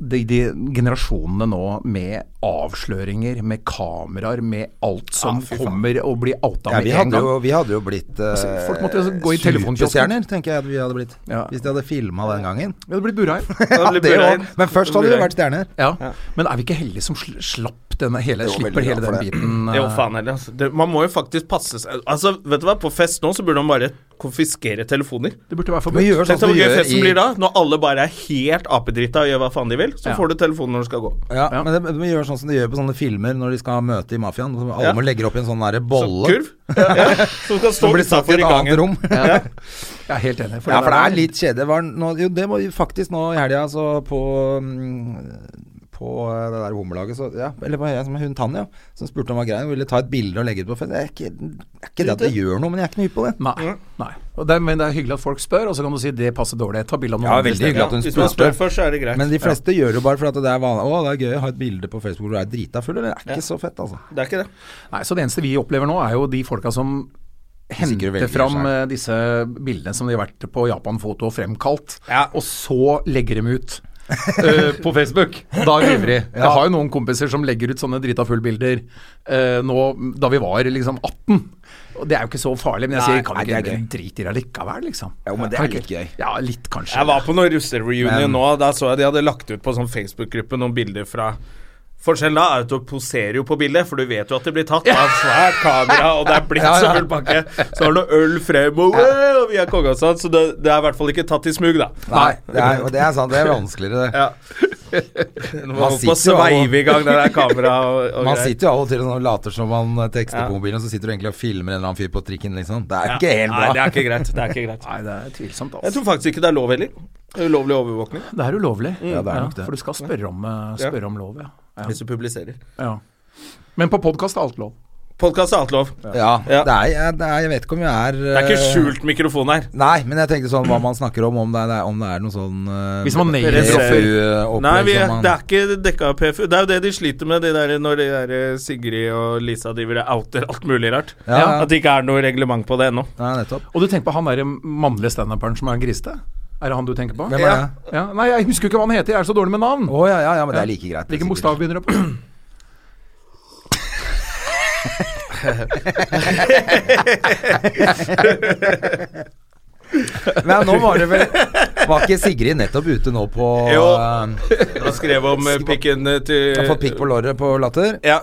de, de generasjonene nå med avsløringer, med kameraer, med alt Ah, som kommer og blir outa Ja, med vi, en hadde gang. Altså, jo, vi hadde jo blitt eh, folk måtte jo gå i telefonkiosken. superstjerner, tenker jeg at vi hadde blitt. Ja. Hvis de hadde filma den gangen. Vi hadde blitt burheim. Da blir det Børre også. inn. Men først hadde vi jo vært stjerner. Ja. Men er vi ikke heldige som sl slapp denne hele, Jo, slipper veldig hele glad den for det. biten? eh, Jo, faen heller. Altså. Det, man må jo faktisk passe seg Altså, vet du hva, på fest nå så burde man bare konfiskere telefoner. Det burde være Vi gjør Tenk deg sånn forbudt. som hvor vi gøy gjør festen i blir da, når alle bare er helt apedrita og gjør hva faen de vil. Så Ja. får du telefonen når du skal gå. Ja, Ja. men det, de gjør sånn som de gjør på sånne filmer når de skal ha møte i mafiaen. så Ja. Alle må legge opp i en sånn derre Så, bolle. kurv. Ja. Som kan stå som blir satt utafor i et i gangen. annet rom. Ja. Jeg er helt enig. Ja, for det der- er litt kjedelig. Var det nå, jo, det må vi faktisk nå i helga, så på mm, På eh, det der homolaget, så Ja, eller hva er jeg som er hun Tanja, som spurte om hva greia var, ville ta et bilde og legge ut på fest. Det er ikke, det er ikke det at det gjør noe, men jeg er ikke noe hypp på det. Nei. nei. Og det, men det er hyggelig at folk spør, og så kan du si det passer dårlig. Ta bilde av noen Mm. Ja, andre veldig steder. hyggelig at hun Hvis man spør. spør først, så er det greit. Men de fleste gjør jo bare fordi det er vanlig. Å, det er gøy å ha et bilde på Facebook hvor du er drita full, eller? Det er ikke så fett, altså. Det er ikke det. Nei, så det eneste vi opplever nå, er jo de folka som Sikkert henter velger fram seg. eh, disse bildene som de har vært på Japan Foto og fremkalt, Ja. og så legger dem ut. eh, på Facebook. Da river de. Jeg har jo noen kompiser som legger ut sånne drita full-bilder eh, nå da vi var liksom 18. Og det er jo ikke så farlig, men jeg Nei, sier kan nei, vi ikke det er egentlig drite i det likevel, liksom? Jo, men det Kan er vi litt ikke- gøy. Ja, litt kanskje. Jeg var på noen russereunion Men- nå. Da så jeg de hadde lagt ut på sånn Facebook-gruppe noen bilder fra Forskjellen da er at du poserer jo på bildet, for du vet jo at det blir tatt av svært kamera, og det er blitt så full pakke. Så har du noe øl frem, og, «Wow, vi er konge og sånn, så det, det er i hvert fall ikke tatt i smug, da. Nei, det er, og det er sant. Det er vanskeligere, det. Ja. Nå må sitter jo man sveive og- i gang det der kameraet og, og Man greier. sitter jo av og til og later som man eh, tekster Ja. på mobilen, og så sitter du egentlig og filmer en eller annen fyr på trikken, liksom. Det er Ja. ikke helt bra. Nei, det er ikke greit. Det er ikke greit. Nei, det er tvilsomt, Jeg altså. tror faktisk ikke det er lov heller. Ulovlig overvåkning. Det er ulovlig. Ja, det er nok det. For du skal spørre om, eh, Ja. spørre om lov, ja. ja. Hvis du publiserer. ja. Men på podkast er alt lov. Podkast er alt lov. Ja, Ja. Det, er, jeg- det er Jeg vet ikke om jeg er Det er ikke skjult mikrofon her. Nei, men jeg tenkte sånn hva man snakker om, om det er, om det er noe sånn eh, Hvis man nailer PFU-opplegg Nei, vi, som man- det er ikke dekka av PFU. Det er jo det de sliter med, de der, når de der eh, Sigrid og Lisa driver og outer alt mulig rart. Ja, ja. At det ikke er noe reglement på det ennå. Nei, nettopp. Og du tenker på han derre mannlige standuperen som er en grisete? Er det han du tenker på? Hvem er Ja. det? Ja. Nei, jeg husker jo ikke hva han heter, jeg er så dårlig med navn. Å ja, ja, ja, men det er like greit. det er sikkert. Hvilken bokstav begynner det på? Men nå var det vel Var ikke Sigrid nettopp ute nå på Jo. eh, Og skrev om eh, pikken eh, Jeg har fått pikk til på låret på latter. ja.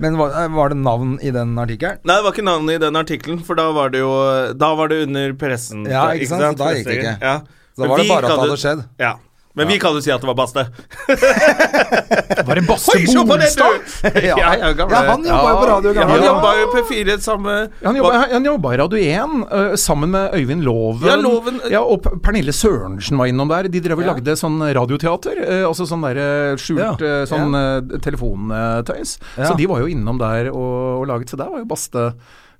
Men var, eh, var det navn i den artikkelen? Nei, det var ikke navnet i den artikkelen, for da var det jo Da var det under pressen. Ja, ikke sant? Så da gikk det ikke. Ja. Så Men da var det vi bare kan at det jo- hadde skjedd. Ja. Men vi kan jo si at det var Baste. Var det Basse Oi, se på det, Bolstad? du! ja, ja, gamle. Ja, han jobba jo på radio, gamle. Han Ja. jobba jo på P4 samme Han jobba, han jobba i Radio 1 øh, sammen med Øyvind Loven. Ja, Loven- Ja, og P- Pernille Sørensen var innom der. De drev og lagde sånn radioteater. øh, Altså sånn der øh, skjult Ja, øh, sånn øh, telefontøys. Så Ja. de var jo innom der og, og laget. Så der var jo Baste,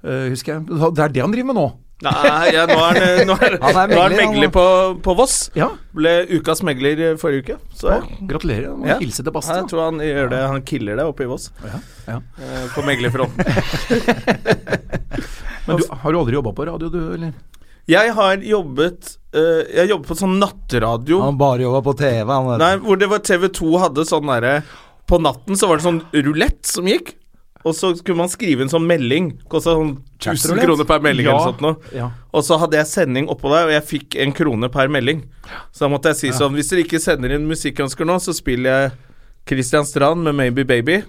øh, husker jeg. Det er det han driver med nå. Nei, ja, nå er han nå er, nå er Han er han megler, han, megler da. på, på Voss. Ja. Ble ukas megler eh, forrige uke. Så Å, gratulerer. Må Ja. hilse til Baste. jeg tror han gjør det. Han killer det oppe i Voss. Ja. eh, På meglerfronten. Men du, har du aldri jobba på radio, du, eller? Jeg har jobbet eh, Jeg jobbet på sånn natteradio. Han bare jobba på TV. Han, Nei, hvor det var TV2 hadde sånn derre På natten så var det sånn rulett som gikk. Og så skulle man skrive en sånn melding. Kosta sånn 1000 Chatrulett? kroner per melding Ja. eller sånt noe. Ja. Og så hadde jeg sending oppå der, og jeg fikk en krone per melding. Så da måtte jeg si sånn Hvis dere ikke sender inn musikkønsker nå, så spiller jeg Christian Strand med 'Maybe Baby'.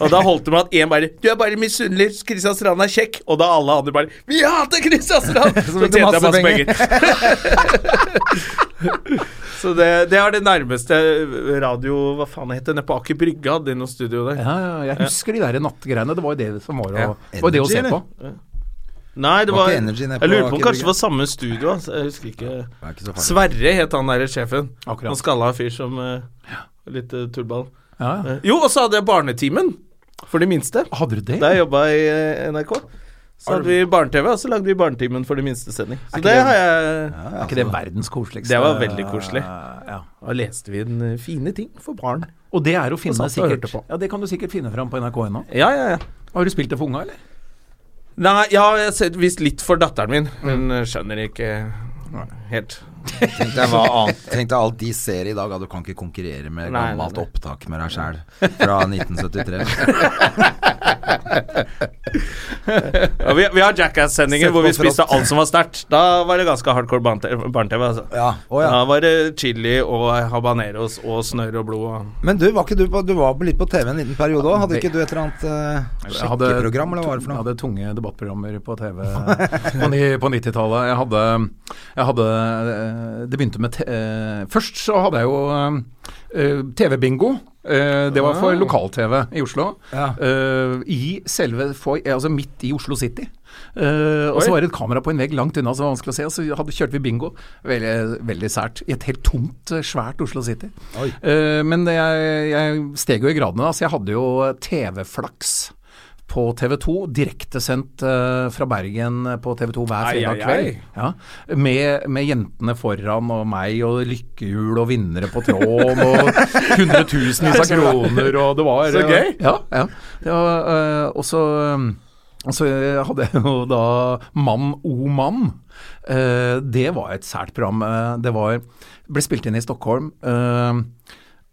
Og da holdt det med at én bare 'Du er bare misunnelig, Christian Strand er kjekk'. Og da alle andre bare 'Vi hater Christian Strand!' Så fikk du tjente jeg masse masse penger. Så det, det er det nærmeste radio Hva faen heter det? Nede på Aker Brygge hadde de noe studio der. Ja, ja, jeg husker de der nattgreiene. Det var jo det som var å, Ja. var det å se Energy, på. Nei, det Var var, ikke Energy nede Jeg på lurer på om Aker kanskje det Brygge? var samme studio. altså. Jeg husker ikke. Det er ikke så farlig. Sverre het han der sjefen. Akkurat. Han skalla fyr som eh, litt eh, tullball. Ja, ja. Eh, Jo, og så hadde jeg Barnetimen for de minste. Hadde du det? Da jeg jobba i eh, NRK, så hadde vi barne-TV, og så lagde vi Barnetimen for de minste sending. Så det har jeg Er ikke det verdens koseligste Altså, Det var veldig koselig. Ja. Da leste vi en eh, fine ting for barn. Og det er å finne Og satt og sikkert hørte på. Ja, Det kan du sikkert finne fram på nrk.no. Ja, ja, ja. Har du spilt det for unga, eller? Nei, jeg har sett visst litt for datteren min. Hun eh, skjønner ikke helt. Tenkte jeg hva annet Tenkte jeg alt de ser i dag at Du kan ikke konkurrere med Nei, nei, gammelt nei. opptak med deg sjæl Fra 1973 Ja, vi, vi har Jackass-sendinger Sett hvor vi på for spiste alt. alt som var sterkt. Da var det ganske hardcore barne-TV. barne-tv, Altså. Ja, å ja. Da var det chili og habaneros og snørr og blod. Og... Men du var, ikke du, på, du var litt på TV en liten periode også Hadde ikke du et eller annet eh, Jeg hadde sjekkeprogram Eller hva var det for Jeg noe? hadde tunge debattprogrammer på TV på, ni- på 90-tallet. Jeg hadde, jeg hadde eh, Det begynte med te eh, Først så hadde jeg jo eh, TV-bingo. Eh, Det var for lokal-TV i Oslo. Ah. Ja. Eh, I selve for, eh, Altså midt i Oslo City. Eh, og så Oi. var det et kamera på en vegg langt unna som var vanskelig å se, og så hadde, kjørte vi bingo. Veldig, veldig sært. I et helt tomt, eh, svært Oslo City. Oi. Eh, men det- jeg, jeg steg jo i gradene, da, så jeg hadde jo TV-flaks på TV 2, direktesendt eh, fra Bergen på TV 2 hver Ai, fredag ai, kveld. ai. Ja, med, med jentene foran og meg og lykkehjul og vinnere på tråden og hundretusenvis av kroner og det var Så gøy. Ja, ja. Det var, eh, og så og så hadde jeg jo da Mann o mann. Eh, det var et sært program. Eh, Det var, ble spilt inn i Stockholm. Eh,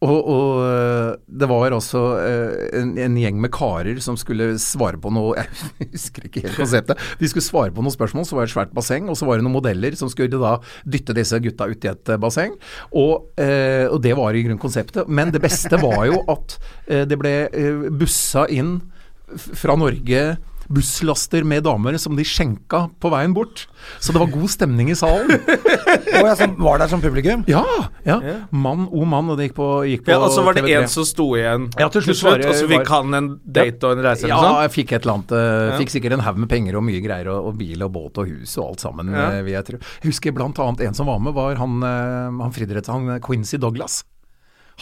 og, og øh, det var også øh, en, en gjeng med karer som skulle svare på noe Jeg husker ikke helt konseptet. De skulle svare på noen spørsmål, så var det et svært basseng, og så var det noen modeller som skulle da dytte disse gutta uti et øh, basseng. Og, øh, og det var i grunnen konseptet. Men det beste var jo at øh, det ble øh, bussa inn f- fra Norge busslaster med damer som de skjenka på veien bort. Så det var god stemning i salen. Å, jeg som var der som publikum Ja! ja. Mann o mann, og det gikk på, gikk på Ja, og så var det TV3. en som sto igjen Ja, til slutt var det- og så fikk var- han en date og en reise Ja, eller noe sånt. jeg fikk et eller annet. eh, Fikk sikkert en haug med penger og mye greier, og, og bil og båt og hus og alt sammen. Ja. eh, vil Jeg, tro. jeg husker blant annet en som var med, var han, eh, han friidretts... Han eh, Quincy Douglas.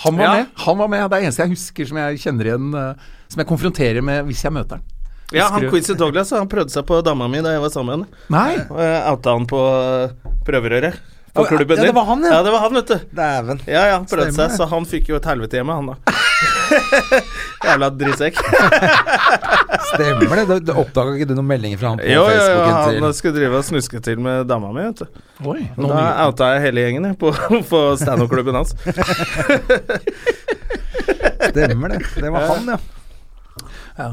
Han var Ja. med. han var med, Det er det eneste jeg husker som jeg kjenner igjen, eh, som jeg konfronterer med hvis jeg møter han. Ja, han Husker du- Quincy Douglas han prøvde seg på dama mi da jeg var sammen med henne. Nei! Og jeg outa han på eh, prøverøret. På Å, ja, klubben ja, det var han, ja. ja. det var han, vet du. Dæven Ja, ja, han prøvde Stemmer seg, det. så han fikk jo et helvete hjemme, han da. Jævla drittsekk. Stemmer det? Du- Du oppdaga ikke du noen meldinger fra han på Jo, jo, jo, Facebooken han skulle drive og snuske til med dama mi, vet du. Oi, Og noen da nye- outa jeg hele gjengen jeg, på, på standup-klubben hans. til Stemmer det? Det var han, ja. Ja.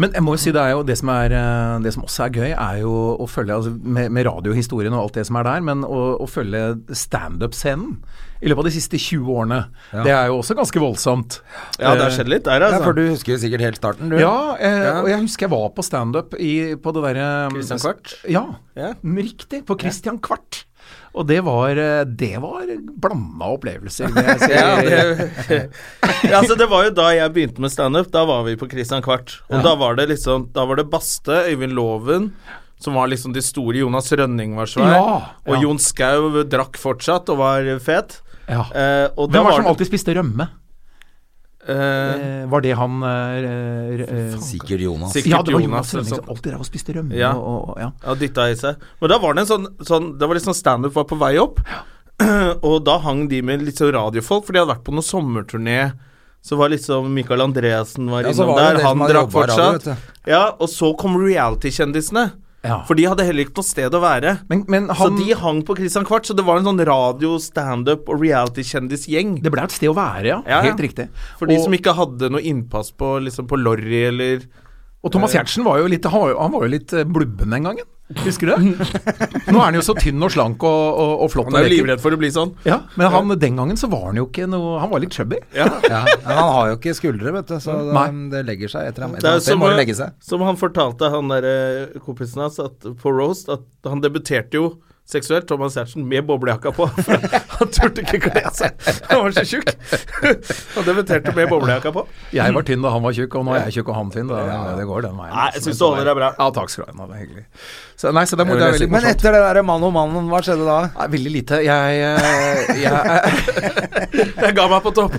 Men jeg må jo si det er jo det som, er, eh, det som også er gøy, er jo å følge altså, med, med radiohistorien og alt det som er der, men å, å følge standup-scenen i løpet av de siste 20 årene. Det er jo også ganske voldsomt. Eh, Ja, det har skjedd litt der, ja. altså. For du husker jo sikkert helt starten, du. Ja, eh, og jeg husker jeg var på standup i- på det derre eh, Christian Kvart? Ja, Ja. riktig. På Christian Kvart. Og det var, eh, det var blanda opplevelser. vil jeg si. Ja, det, ja, altså, det var jo da jeg begynte med standup. Da var vi på Christian Kvart. Og da var det liksom Da var det Baste, Øyvind Loven, som var liksom de store. Jonas Rønning var svær. Ja, og ja. Jon Skau drakk fortsatt og var fet. Ja. Eh, og da Hvem var det som det- alltid spiste rømme? eh, Eh, var det han eh, eh, Sikkert Jonas. Sikkert Ja, det var Jonas Jonas Rønning eller som alltid drev og spiste rømme. Ja. Og, og, ja. Ja, dytta i seg. Men da var det en sånn, sånn Det var liksom standup var på vei opp, og da hang de med litt sånn radiofolk, for de hadde vært på noen sommerturné. Så var liksom Michael Andreassen var Ja, så innom var det der, det som han hadde drakk jobba i radio, fortsatt. vet ja, og så kom reality-kjendisene. Ja. For de hadde heller ikke noe sted å være. Men, men han, så de hang på Christian Kvart, så det var en sånn radio-, standup- og reality-kjendisgjeng. Det ble et sted å være, ja. Ja, ja. Helt riktig. For de Og- som ikke hadde noe innpass på, liksom på Lorry eller Og Thomas Giertsen var jo litt, han var jo- han var jo litt eh, blubben den gangen. Husker du det? Nå er han jo så tynn og slank og, og, og flott. Han er og jo leker. livredd for å bli sånn. Ja, men han, den gangen så var han jo ikke noe Han var litt chubby. Ja, men han har jo ikke skuldre, vet du, så det, Nei. det legger seg etter ham. Det er jo Etter som, må det legge seg. som han fortalte han der, eh, kompisen hans at, på Roast, at han debuterte jo seksuelt, Thomas Giertsen, med boblejakka på. han turte ikke kle seg. Han var så tjukk. han debuterte med boblejakka på. Jeg var tynn da han var tjukk, og nå er jeg tjykk og han tynn. Da, Det går den veien. Nei, jeg syns du holder deg bra. Ja, takk skal du ha. Nå, Det er hyggelig. Så, nei, så det, er- det er veldig Men morsomt. etter det derre mann og mannen, hva skjedde da? Nei, veldig lite. Jeg, eh, jeg Jeg ga meg på topp.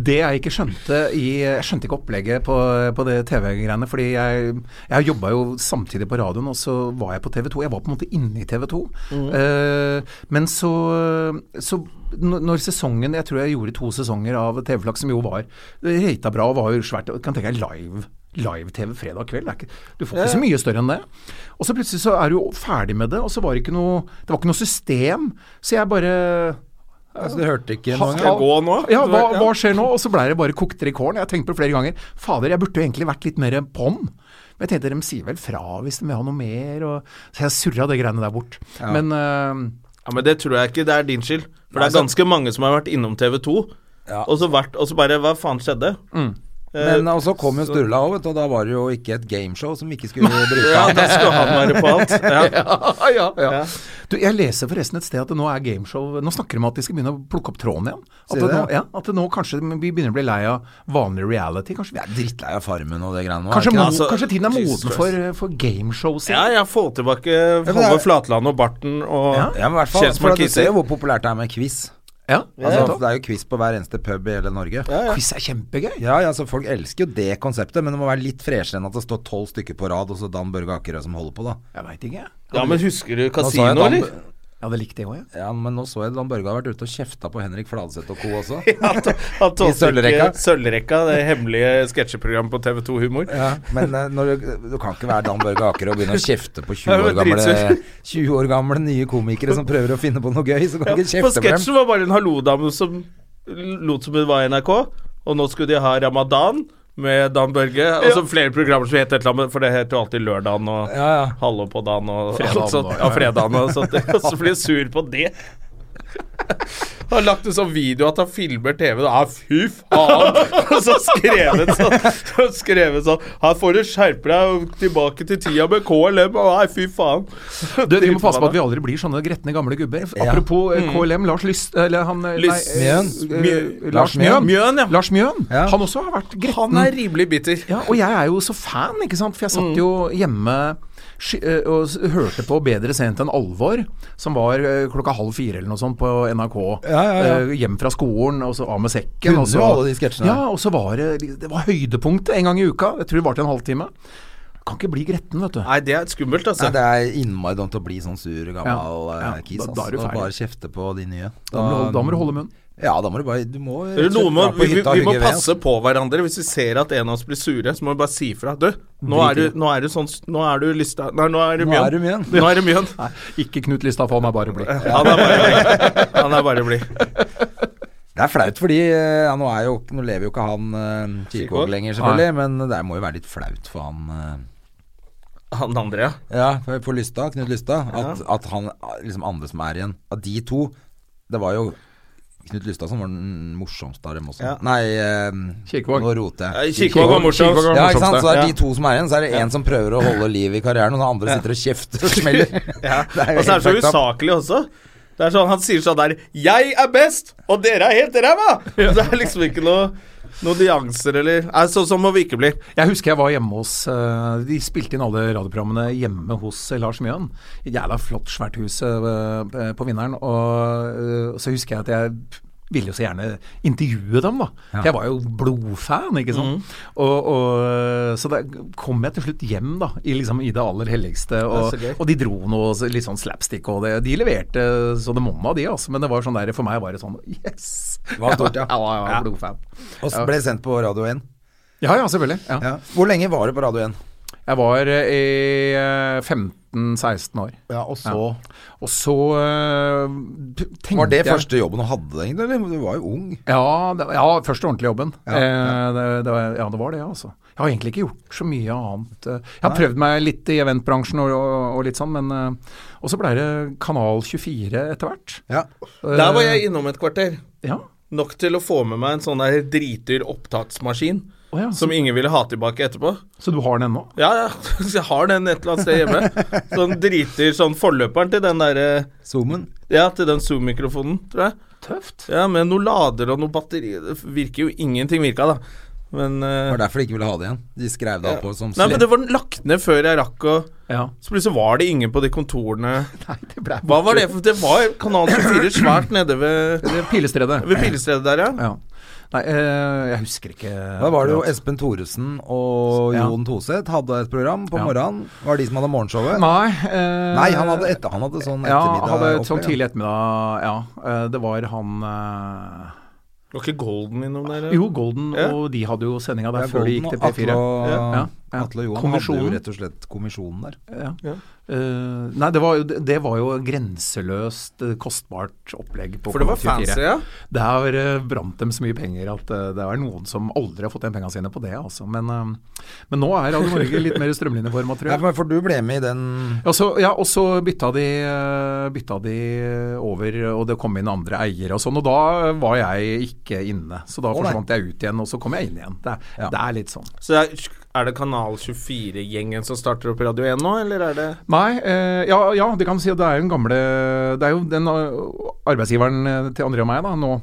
Det jeg ikke skjønte i Jeg skjønte ikke opplegget på, på det TV-greiene, fordi jeg, jeg jobba jo samtidig på radioen, og så var jeg på TV 2. Jeg var på en måte inne i TV 2. Mm. Eh, men så, så når når sesongen Jeg tror jeg gjorde to sesonger av TV-flaks, som jo var rata bra og var jo svært og Kan tenke deg live. Live-TV fredag kveld. Det er ikke, du får ikke så mye større enn det. Og så plutselig så er du jo ferdig med det, og så var det ikke noe Det var ikke noe system. Så jeg bare Altså, du hørte ikke Ha- noen Skal jeg gang? gå nå? ja, hva, hva skjer nå? Og så blei det bare kokte i kålen. Jeg har tenkt på det flere ganger. Fader, jeg burde jo egentlig vært litt mer på'n. Men jeg tenkte de sier vel fra hvis de vil ha noe mer, og Så jeg surra det greiene der bort. Men øh, Ja, Men det tror jeg ikke det er din skyld. For det er ganske mange som har vært innom TV2, Ja. Mm. og så vært, og så bare Hva faen skjedde? Eh, Men og så kom jo Sturla òg, vet du, og da var det jo ikke et gameshow som ikke skulle bruke ja, han. da skulle han være på alt. Ja. ja, ja. Du, jeg leser forresten et sted at det nå er gameshow Nå snakker de om at de skal begynne å plukke opp tråden igjen. At Sier det, nå, det? ja, at det nå kanskje vi begynner å bli lei av vanlig reality. Kanskje, Jeg vi er, er drittlei av Farmen og det greiene nå. er kanskje, ikke mo, det? altså, kanskje tiden er Jesus moden for, eh, for gameshows Ja, igjen. jeg får tilbake men det er- Håvard Flatland og Barten og Ja. ja, men i hvert fall, Kjelsmann for at Du Kisser. ser jo hvor populært det er med quiz. Ja, Altså, nettopp. det er jo quiz på hver eneste pub i hele Norge. Ja. Quiz er kjempegøy. Ja, så Folk elsker jo det konseptet, men det må være litt freshere enn at det står tolv stykker på rad, og så Dan Børge Akerø som holder på, da. Jeg veit ikke, jeg. Ja, men husker du Nå sa jeg Casino, Dan- eller? Jeg hadde likt det òg, jeg. Ja, men nå så jeg Dan Børge har vært ute og kjefta på Henrik Fladseth og co. også. Han to- han tålte ikke Sølvrekka. Sølvrekka, det hemmelige sketsjeprogrammet på TV2 Humor. Ja, men eh, når du, du kan ikke være Dan Børge Akerø og begynne å kjefte på 20 år, Jeg blir gamle, dritsur. 20 år gamle nye komikere som prøver å finne på altså. noe gøy. Så kan Ja, du ikke for kjefte på dem. sketsjen var bare en hallodame som lot som hun var i NRK, og nå skulle de ha Ramadan med Dan Børge, og så flere programmer som het et eller annet, for det het jo alltid Lørdagen og Ja, ja. Hallo på dagen og Fredagen alt sånt. og- Ja, fredagen og sånt. Og så blir jeg sur på det. Han har lagt en sånn video at han filmer TV. Ja, fy faen! Og så skrevet sånn. Så skrevet sånn Her får du skjerpe deg og tilbake til tida med KLM. Og nei, fy faen. Du, Vi må passe på at vi aldri blir sånne gretne gamle gubber. Apropos eh, KLM, Lars Lyst... Eller han eh, Mm. Lys- nei, eh, Mjøen. eh, Mjø- Lars Lars Mjøen. Mjøen, ja. Lars Mjøen. Ja. Han også har vært Han gretten. er rimelig Mm. bitter. Ja, og jeg er jo så fan, ikke sant. For jeg satt jo hjemme sky- eh, og s- hørte på Bedre sent enn alvor, som var eh, klokka halv fire eller noe sånt på NRK. Ja, ja, ja. Eh, Hjem fra skolen, og så av med sekken. Kunne og så- jo alle de sketsjene. Ja, og så var det Det var høydepunktet en gang i uka. Jeg tror det varte en halvtime. Kan ikke bli gretten, vet du. Nei, det er skummelt, altså. Nei, det er innmari dumt å bli sånn sur gammel Ja, eh, ja, kis. da- ass. da er du Og ferdig. bare kjefte på de nye. Um, Da må du holde- da må du holde munn. Ja, da må du bare Du må Det er rett og jo noe slett dra med, på vi, hytta vi og må hugge ved, altså. ass. passe på hverandre. Hvis vi ser at en av oss blir sure, så må vi bare si fra. Du, nå er du, nå er du sånn Nå er du lysta... Nei, nå er du Nå er du mjøn. mjøn. Nå er du mjøn. Nei, ikke Knut Lystad, for han er bare blid. Han er bare blid. Han er bare blid. Det er flaut, fordi eh, ja, nå, er jo, nå lever jo ikke han eh, Kirkvaag? Kirkvaag lenger, selvfølgelig. Men det må jo være litt flaut for han eh, Han andre, ja. Ja, for, for Lystad, Knut Lystad. At, at han, liksom andre som er igjen Av de to Det var jo Knut Lystad som var den morsomste av dem også. Ja. Nei, eh, Kirkvaag. nå roter Ja, jeg. Kirkvaag var morsom. Kirkvaag var Ja, ikke sant? Så det er Ja. de to som er igjen. Så er det en som prøver å holde liv i karrieren, og den andre sitter og kjefter og smeller. ja. Det er jo Og så er det helt så fucked up. usaklig også. Det er sånn, Han sier sånn der 'Jeg er best, og dere er helt ræva!' Så Det er liksom ikke noe noen nyanser eller Nei, Sånn som må vi ikke bli. Jeg husker jeg var hjemme hos eh, De spilte inn alle radioprogrammene hjemme hos eh, Lars Mjøen. Et jævla flott, svært hus eh, eh, på Vinneren. Og eh, så husker jeg at jeg ville jo så gjerne intervjue dem, da. For jeg var jo blodfan, ikke sant. Og, og, eh, så da kom jeg til slutt hjem, da, i, liksom, i det aller helligste. Og, Det er så gøy. og de dro noe så- litt sånn slapstick, og det, de leverte eh, så det monna, de, altså. Men det var sånn der, for meg var det sånn Yes! var stort, ja. Jeg var, jeg var blodfan. Og så ble det sendt på Radio 1. Ja ja, selvfølgelig. Ja. Ja. Hvor lenge var det på Radio 1? Jeg var eh, i eh, 15 15-16 år. Ja, og så Og så øh, tenkte Var det jeg- første jobben du hadde, egentlig? Eller? Du var jo ung. Ja, det, var- ja første ordentlige jobben. Ja, Eh, det, det, var- ja, det var det, altså. Jeg har egentlig ikke gjort så mye annet. eh. Jeg har prøvd meg litt i eventbransjen og, og, og litt sånn, men eh, Og så blei det Kanal 24 etter hvert. Ja. Der var jeg innom et kvarter. Ja. Nok til å få med meg en sånn der dritdyr opptaksmaskin Å ja, så, som ingen ville ha tilbake etterpå. så du har den ennå? Ja, ja, så jeg har den et eller annet sted hjemme. Sånn driter sånn forløperen til den derre Zoomen. Ja, til den Zoom-mikrofonen, tror jeg. Tøft. Ja, med noe lader og noe batteri Det virker jo ingenting virka, da. Men eh, Det var derfor de ikke ville ha det igjen. De skrev det opp på som Nei, men det var lagt ned før jeg rakk å Ja. Så plutselig var det ingen på de kontorene. Nei, det blei Hva var det for Det var Kanal 24 svært nede ved, Pilestredet. ved Pilestredet der, ja. Ja. Nei, eh, jeg husker ikke Da var det jo Espen Thoresen og Ja. Jon Toseth hadde et program på Ja. morgenen. Var det de som hadde morgenshowet? Nei, eh, Nei, han hadde, etter, han hadde sånn Ja, ettermiddag. hadde et opplegg, sånn ja. tidlig ettermiddag, ja. Eh, Det var han eh, Var ikke Golden innom der? ja? Jo, Golden Ja. og de hadde jo sendinga Det der er før de gikk Golden til og P4. Atle og, Ja, ja. Atle og Johan hadde jo Kommisjonen. rett og slett kommisjonen der. Ja. Ja. Eh, nei, det var, jo, det var jo grenseløst eh, kostbart opplegg på For det var Kanal 24. fancy, ja. Der eh, brant dem så mye penger at eh, det er noen som aldri har fått igjen pengene sine på det, altså. Men, eh, men nå er Radio Norge litt mer strømlinjeforma, tror Ja, jeg. men for du ble med i den Ja, så, ja, og så bytta de, eh, bytta de over, og det kom inn andre eiere og sånn. Og da var jeg ikke inne. Så Å, da nei. forsvant jeg ut igjen, og så kom jeg inn igjen. Det, er- Ja. det er litt sånn. Så det er, er det Kanal 24-gjengen som starter opp Radio 1 nå, eller er det Nei, eh, ja, ja, det kan du si. at Det er jo den gamle Det er jo den eh, arbeidsgiveren eh, til André og meg da, nå,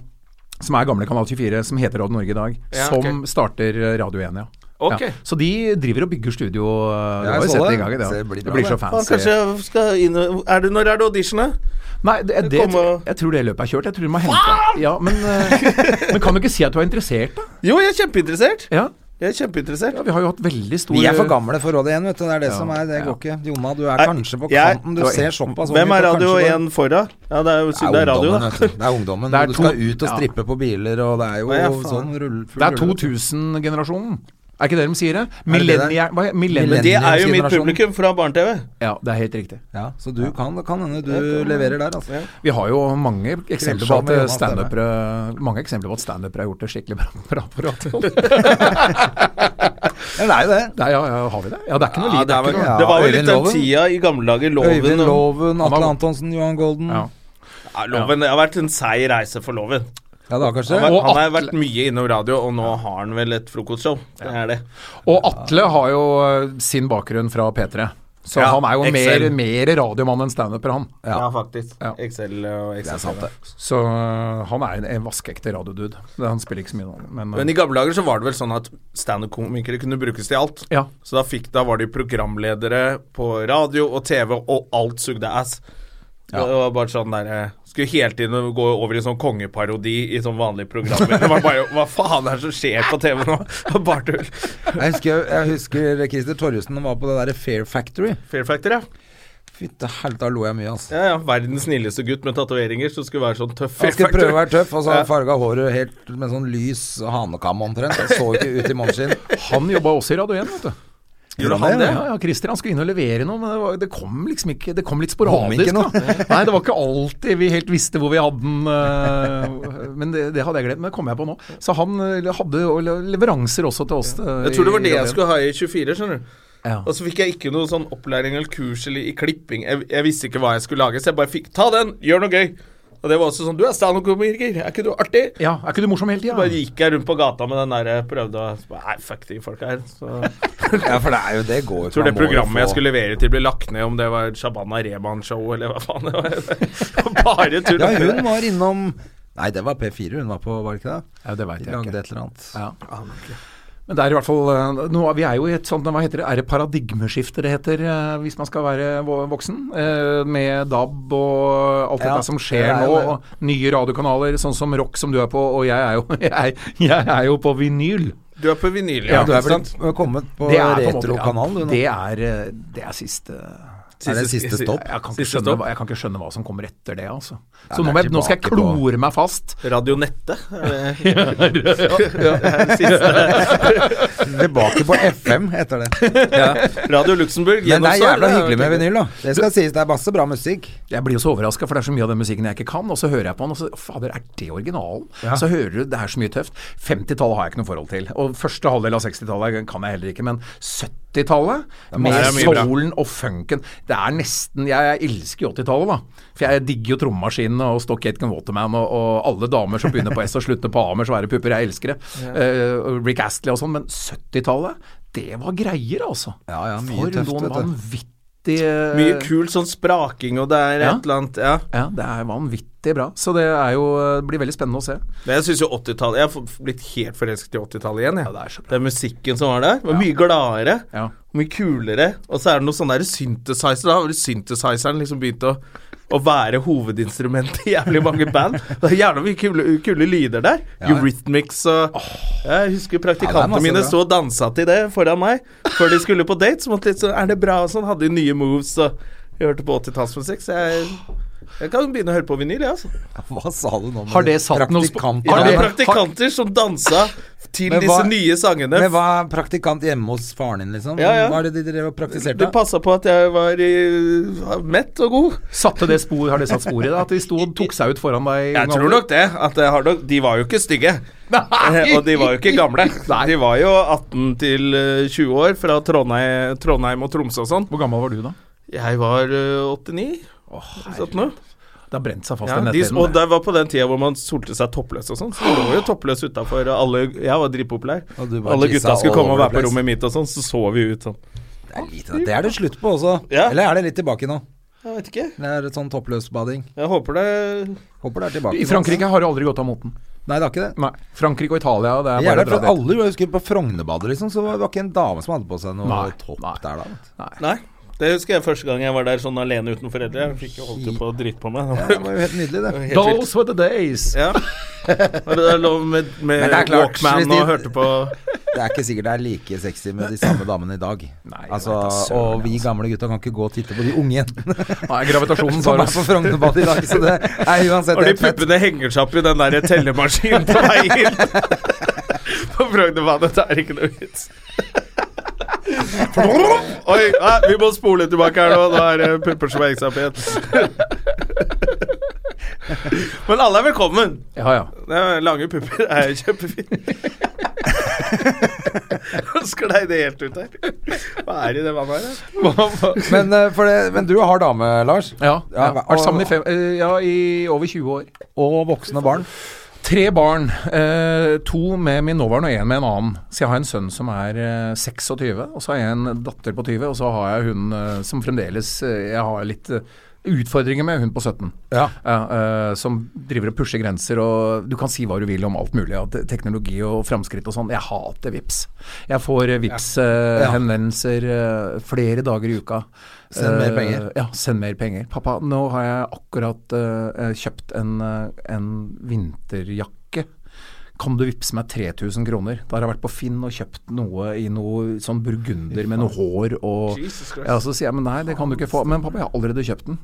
som er gamle Kanal 24, som heter Radio Norge i dag, Ja, som ok. starter eh, Radio 1, ja. Ok. ja. Så de driver og bygger studio. eh, Du Ja, jeg har så jo sett det det. en gang i dag. Så det blir bra, så det. Faen, fancy. kanskje jeg skal inn er det, Når er det auditionet? Nei, det, det, Kom og- jeg tror det løpet er kjørt. Jeg tror du må hente ja, men, eh, men kan du ikke si at du er interessert, da? Jo, jeg er kjempeinteressert. Ja, Jeg er kjempeinteressert. ja Vi har jo hatt veldig stor Vi er for gamle for Råd 1, vet du. Det er det Ja. som er Det går ikke. Jonna, du er Nei, kanskje på jeg- kanten. Du ser såpass Hvem ung er ut, og Radio altså, kanskje bare- 1 for, da? Ja, det er jo Det det er er radio, da. ungdommen, vet du. Det er ungdommen. Det er og du skal to- ut og ja. strippe på biler, og det er jo Å, ja, faen. sånn rull, full Det er rulle. 2000-generasjonen. Er ikke det de sier det? Er det det der? Millennia- Men hva- Millennium... Det er jo mitt Millenniumsgenerasjonen. publikum fra barne-TV. Ja, det er helt riktig. Ja, så du kan, det kan hende du leverer der, altså. Vi har jo mange eksempler på Kretsjene at Jonas standupere Mange eksempler på at standupere har gjort det skikkelig bra. bra på radio. Ja, det er jo det. Nei, ja, ja, har vi det? Ja, det er ikke noe liv. det er ikke noe- Ja, Det var jo litt Øyvind den Loven. tida i gamle dager Øyvind loven og- Loven, Han Atle var- Antonsen, Johan Golden. Ja. Ja, Ja, loven, Det har vært en seig reise for loven. det har kanskje Han har, det. Og han har Atle. vært mye innom radio, og nå har han vel et frokostshow. Det er det. Og Atle har jo eh, sin bakgrunn fra P3. Så Ja, han er jo mer, Excel. mer radiomann enn standuper, han. Ja, Ja. faktisk. Ja. Excel og Excel. Så eh, han er en, en vaskeekte radiodude. Det- Han spiller ikke så mye nå, men, eh, Men i gamle dager så var det vel sånn at standup-komikere kunne brukes til alt. Ja. Så da, fikk, da var de programledere på radio og TV, og alt sugde ass. Det var bare sånn der, eh, Skulle hele tiden gå over i sånn kongeparodi i sånn vanlige programmer. Det var bare, Hva faen er det som skjer på TV nå? Bare tull. Jeg husker, jeg husker Christer Torjussen var på det der Fair Factory. Fair Factor, ja. Fytte helvete, da lo jeg mye, altså. Ja, ja. Verdens snilleste gutt med tatoveringer som skulle være sånn tøff. Han skulle prøve å være tøff, og så Ja. farga håret helt med sånn lys hanekam omtrent. Det så ikke ut i måneskinn. eh, han jobba også i Radio 1, vet du. Gjorde han det? Ja, ja, Christer han skulle inn og levere noe, men det, var, det kom liksom ikke Det kom litt Kom sporadisk. ikke noe. da. Nei, det var ikke alltid vi helt visste hvor vi hadde den. eh, men det, det hadde jeg glemt, men det kom jeg på nå. Så han eh, hadde jo le- leveranser også til oss. eh, Jeg tror det var det jeg skulle ha i 24, skjønner du. Ja. Og så fikk jeg ikke noe sånn opplæring eller kurs eller i klipping. Jeg, jeg visste ikke hva jeg skulle lage, så jeg bare fikk Ta den! Gjør noe gøy! Og det var også sånn Du er standup-komiker, er ikke du artig? ja, er ikke du morsom hele Så bare tida? gikk jeg rundt på gata med den der prøvde å så bare, Nei, fuck de folka her. Så jeg Ja, for det er jo det går jo ikke. tror det Man må jo programmet jeg få- skulle levere til, ble lagt ned, om det var Shabana Rehman-show eller hva faen det var. Bare tull. Ja, hun var innom Nei, det var P4 hun var på, var det ikke det? Ja, det veit De jeg lagde ikke. et eller annet. Ja. Men det er i hvert fall eh, nå, er- Vi er jo i et sånt Hva heter det? Er det paradigmeskifte det heter, eh, hvis man skal være vo- voksen? Eh, Med DAB og alt Ja, dette som skjer det er nå. jo det. Og nye radiokanaler, sånn som Rock, som du er på. Og jeg er jo, jeg, jeg er jo på vinyl. Du er på vinyl, Ja, ja. du er ikke sant? blitt kommet på Det er på en måte- ja, retrokanalen, du nå. Det er, eh, det er siste Er det siste stopp? Jeg kan, ikke Siste skjønne, stopp. hva- jeg kan ikke skjønne hva som kommer etter det, altså. det Så nå, er må jeg, nå skal jeg tilbake på- klore meg fast. Radionettet? er det- Tilbake på FM etter det. Radio Luxembourg? Men det er gjennomsår, jævla det er hyggelig med ikke- vinyl, da. Det skal sies, det er masse bra musikk. Jeg blir jo så overraska, for det er så mye av den musikken jeg ikke kan. Og så hører jeg på den, og så Fader, er det originalen? Så hører du det er så mye tøft. 50-tallet har jeg ikke noe forhold til. Og første halvdel av 60-tallet kan jeg heller ikke. Men 70-tallet, med masse- Det er mye bra. soulen og funken Det er nesten Jeg, jeg elsker jo 80-tallet, da. For jeg digger jo trommemaskinene og Stock Aitken Waterman og, og alle damer som begynner på S og slutter på A med svære pupper. Jeg elsker det. Eh, og Rick Astley og sånn. Men 70-tallet, det var greier, altså. Ja, ja, mye for tøft, noen vet du. vanvittige Mye kul sånn spraking, og det er Ja. et eller annet Ja. ja, det er vanvittig bra. Så det er jo, det blir veldig spennende å se. Men jeg synes jo 80-tallet Jeg har f- blitt helt forelsket i 80-tallet igjen, jeg. Ja, det er så bra. Den musikken som var der, var mye gladere. Ja. og Mye kulere. Og så er det noe sånn der synthesizer. Da har vel synthesizeren liksom begynt å, å være hovedinstrumentet i jævlig mange band. Det er jævla mye kule, kule lyder der. Eurythmics og Jeg husker Ja, det er praktikantene masse mine bra. sto og dansa til det foran meg før de skulle på date. Så måtte litt sånn Er det bra? Og sånn. Hadde de nye moves og Jeg hørte på 80-tallsmusikk, så jeg jeg kan begynne å høre på vinyl, jeg, altså. Hva sa du nå? med Har det satt noe sp- praktikant- Har Det det- var Ja, praktikanter som dansa til Men disse hva- nye sangene. Men hva er praktikant hjemme hos faren din, liksom? Ja, ja. Hva er det de drev og praktiserte? Det passa på at jeg var eh, mett og god. Satte det spor, har det satt spor i deg? At de sto og tok seg ut foran deg? i Jeg ung tror alder? nok det. At jeg har nok, de var jo ikke stygge. Eh, Nei! Og de var jo ikke gamle. De var jo 18 til eh, 20 år, fra Trondheim, Trondheim og Tromsø og sånn. Hvor gammel var du da? Jeg var eh, 89. Sånn nå. Det har brent seg fast Ja, i de, og netthinnen. det var på den tida hvor man solte seg toppløs og sånn. Så du lå jo toppløs utafor. Jeg var dritpopulær. Og du bare Alle tissa gutta skulle all komme og være på over liksom. the place. rommet mitt og sånn, så så vi ut sånn. Det er lite, det er det slutt på også. Ja. Eller er det litt tilbake nå? Jeg vet ikke. Det er et sånn toppløsbading. Jeg håper det Håper det er tilbake. I Frankrike har det aldri gått av moten. Nei, det er ikke det. Nei. Frankrike og Italia, det Det er er bare jævlig, å for dra dit. alle jeg husker på Frognerbadet, liksom, så var det ikke en dame som hadde på seg noe Nei, topp nei. der da. vet du. Nei. Det husker jeg første gang jeg var der sånn alene uten foreldre. Jeg fikk jo holdt jo på å drite på meg. Det var jo helt nydelig, det. Helt vilt. Those were the days! Ja. Var det der lov med, med Men det er klart, hvis Walkman de- og hørte på Det er ikke sikkert det er like sexy med de samme damene i dag. Nei, altså, jeg vet da søren, og vi gamle gutta kan ikke gå og titte på de unge igjen. Nei, gravitasjonen Som tar er oss på Frognerbadet i dag, så det er uansett Og de helt fett. puppene henger seg opp i den der tellemaskinen på vei inn. På Frognerbadet. Det er ikke noe vits. Oi, nei, vi må spole tilbake her nå. Nå er det pupper som henger seg opp igjen. Men alle er velkommen. Ja, ja. Det er lange pupper Det er jo kjempefint. Sklei det helt ut der. Hva er det i det vannet her? altså? da? Men, eh, for det, men du har dame, Lars. ja, ja. og- Vært sammen i, fem, eh, ja, i over 20 år. Og voksne barn. Tre barn. Eh, to med min nåværende og én med en annen. Så jeg har en sønn som er eh, 26, og så har jeg en datter på 20, og så har jeg hun eh, som fremdeles eh, Jeg har litt eh, utfordringer med hun på 17. Ja. eh, som driver og pusher grenser, og du kan si hva du vil om alt mulig. At teknologi og framskritt og sånn. Jeg hater VIPS. Jeg får eh, vips eh, Ja. henvendelser eh, flere dager i uka. Send mer Eh, penger. Ja, send mer penger. Pappa, nå har jeg akkurat eh, eh, kjøpt en, eh, en vinterjakke. Kan du vippse meg 3000 kroner? Da har jeg vært på Finn og kjøpt noe i noe sånn burgunder med noe hår og Jesus Christ. ja, Så sier jeg men nei, det kan du ikke få. Men pappa, jeg har allerede kjøpt den.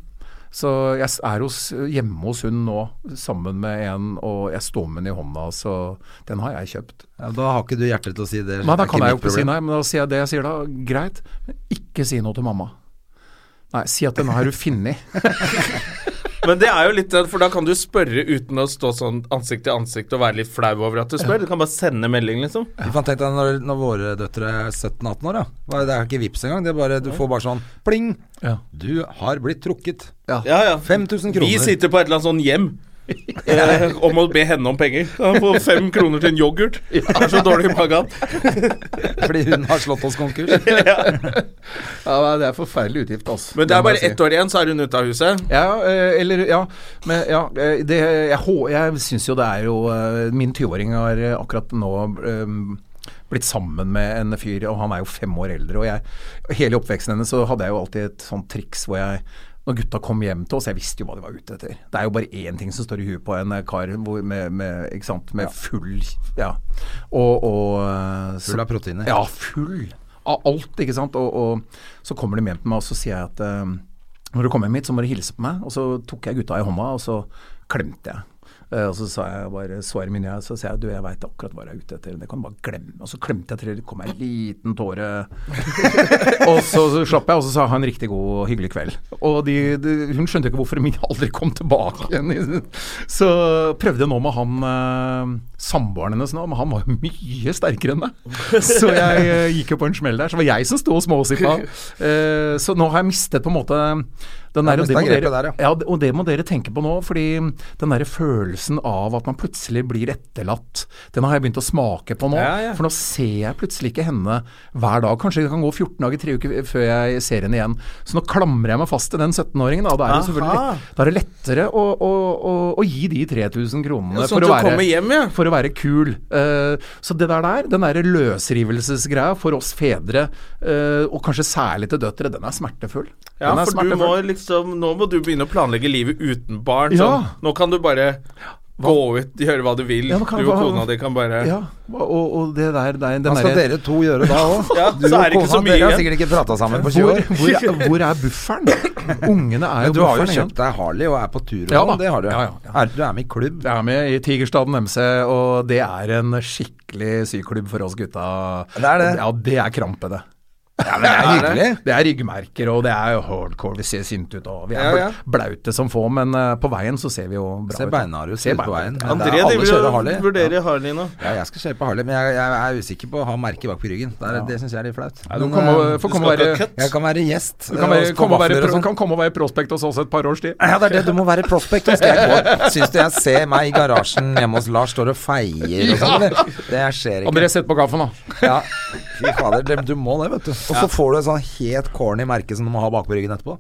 Så jeg s- er hos, hjemme hos hun nå sammen med en, og jeg står med den i hånda, så den har jeg kjøpt. Ja, da har ikke du hjerte til å si det. Nei, da Det er kan ikke jeg jo mitt ikke si problem. nei, men da sier jeg det jeg sier da. Greit, men ikke si noe til mamma. Nei, si at den har du funnet. Men det er jo litt den, for da kan du spørre uten å stå sånn ansikt til ansikt og være litt flau over at du spør. Du kan bare sende melding, liksom. Du kan tenke deg når, når våre døtre er 17-18 år, da. Hva er Det det er ikke vips engang. Det er bare, du får bare sånn pling. Ja. Du har blitt trukket. Ja, ja. 5000 kroner. Vi sitter på et eller annet sånn hjem. eh, om å be henne om penger. Han får fem kroner til en yoghurt. Han er så dårlig i magen. Fordi hun har slått oss konkurs. Ja, det er forferdelig utgift, altså. Men det er bare ett år igjen, så er hun ute av huset. Ja, eh, eller Ja. Men ja, eh, det, jeg, hå- jeg syns jo det er jo eh, Min 20-åring har eh, akkurat nå eh, blitt sammen med en fyr, og han er jo fem år eldre. Og jeg, hele oppveksten hennes så hadde jeg jo alltid et sånt triks hvor jeg når gutta kom hjem til oss, jeg visste jo hva de var ute etter. Det er jo bare én ting som står i huet på en eh, kar hvor, med, med, ikke sant? med full Ja. Og, og eh, så- Full av proteiner. Ja, full av alt, ikke sant. Og, og så kommer de hjem til meg, og så sier jeg at eh, når du kommer hjem hit, så må du hilse på meg. Og så tok jeg gutta i hånda, og så klemte jeg. Eh, og så sa jeg bare svaret mitt, og så sa jeg du, jeg veit akkurat hva jeg er ute etter, det kan du bare glemme. Og så klemte jeg til det kom en liten tåre. og så, så slapp jeg, og så sa han riktig god og hyggelig kveld. Og de, de, hun skjønte ikke hvorfor min aldri kom tilbake igjen. Så prøvde jeg nå med han eh, samboeren hennes nå, men han var jo mye sterkere enn meg. Så jeg eh, gikk jo på en smell der. Så var jeg som sto og småsippa. Eh, så nå har jeg mistet på en måte den der, Ja, og det, må mistet grepet dere, der, ja. ja, d- og det må dere tenke på nå, fordi den derre følelsen av at man plutselig blir etterlatt, den har jeg begynt å smake på nå. Ja, ja. For nå ser jeg plutselig ikke henne hver dag. Kanskje det kan gå 14 dager, tre uker før jeg ser henne igjen. Så nå klamrer jeg meg fast til den 17-åringen, da. Da er det selvfølgelig Aha. lett, da er det lettere å, å, å, å gi de 3000 kronene Ja, sånn at du kommer hjem, ja. for å være kul. Eh, så det der der, den derre løsrivelsesgreia for oss fedre, eh, og kanskje særlig til døtre, den er smertefull. Ja, den er for du må liksom Nå må du begynne å planlegge livet uten barn. Ja. Sånn. Nå kan du bare gå ut, gjøre hva du vil. Ja, nå kan du og jeg bare- kona di kan bare Ja, og, og det der, der den Hva skal derre- dere to gjøre da òg? Ja, så er det ikke så mye Dere har igjen. sikkert ikke prata sammen på 20 hvor, år. hvor, hvor er bufferen? Ungene er Men jo du har jo bufferen. kjøpt deg Harley og er på tur og Ja da. sånn. Det har du. Ja, ja, ja. Er, du er med i klubb. Jeg er med i Tigerstaden MC, og det er en skikkelig syklubb for oss gutta. Det er det. Ja, det er krampe, det. Ja, men det er hyggelig. Det er ryggmerker, og det er jo hardcore. Vi ser sinte ut, og vi er Ja, ja. bla- blaute som få, men eh, på veien så ser vi jo bra Ser ut. beinharde Ser ut på veien. beinharde ut. Men det André er, alle driver kjører og Harley. vurderer Harley nå. Ja, jeg skal kjøre på Harley, men jeg, jeg er usikker på å ha merket bak på ryggen. Det, er, det syns jeg er litt flaut. Du Men, kan eh, komme- får komme og ikke ha være- kødd. jeg kan være gjest. du kan eh, være- og få komme og være vafler og pro- sånn. kan komme og være prospect hos oss et par års tid. Ja, det er det. Du må være prospect. og Skal jeg gå? Syns du jeg ser meg i garasjen hjemme hos Lars står og feier og sånn? eller? Det skjer ikke. André, sett på kaffen, da. Ja, fy fader. det- Du må det, vet du. Og så får du et sånn helt corny merke som du må ha bakpå ryggen etterpå.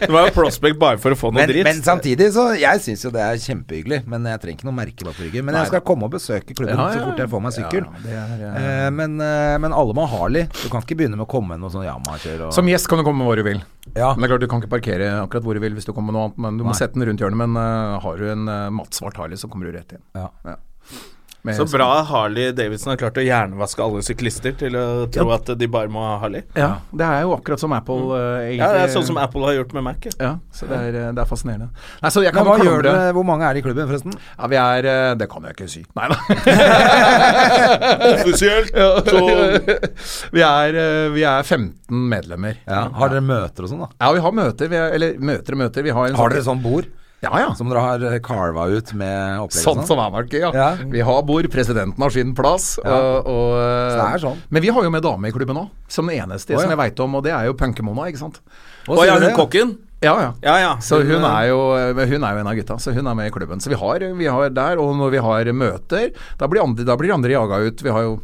Det var jo Prospect bare for å få noe Men, dritt. men samtidig så Jeg syns jo det er kjempehyggelig. Men jeg trenger ikke noe merke bakpå ryggen. Men jeg skal komme og besøke klubben Ja, ja. så fort jeg får meg sykkel. Ja, det er, Eh, men, eh, men alle må ha Harley. Du kan ikke begynne med å komme med noe sånn Yamaha-kjør og Som gjest kan du komme hvor du vil. Ja. Men det er klart Du kan ikke parkere akkurat hvor du vil hvis du kommer med noe annet, men du må Nei. sette den rundt hjørnet. Men eh, har du en uh, mattsvart Harley, så kommer du rett inn. Ja. Med- Så bra Harley Davidson har klart å hjernevaske alle syklister til å tro at de bare må ha Harley. Ja, det er jo akkurat som Apple, Mm. eh, egentlig. Ja, det er sånn som Apple har gjort med Mac. ja. Ja, så det er, eh, det er fascinerende. Nei, så jeg Men kan hva klamre- gjør dere? Hvor mange er det i klubben, forresten? Ja, vi er eh, Det kan jeg ikke si. Nei da. Offisielt! Så vi, er, eh, vi er 15 medlemmer. Ja. Har dere møter og sånn, da? Ja, vi har møter. Vi er, eller møter og møter. Vi har en Har dere sånn bord Ja, ja. som dere har eh, carva ut med opplegg og Sånn som er markedet, ja. Ja. Vi har bord, presidenten har sin plass. Og, og, Så det er sånn. Men vi har jo med dame i klubben òg, som den eneste Å, ja. som jeg veit om. Og det er jo Punkemona, ikke sant. Å, Å sier ja, du hun det? kokken? Ja, ja. Ja ja. Så hun er, jo, men hun er jo en av gutta, så hun er med i klubben. Så vi har, vi har der, og når vi har møter, da blir andre, da blir de andre jaga ut. Vi har jo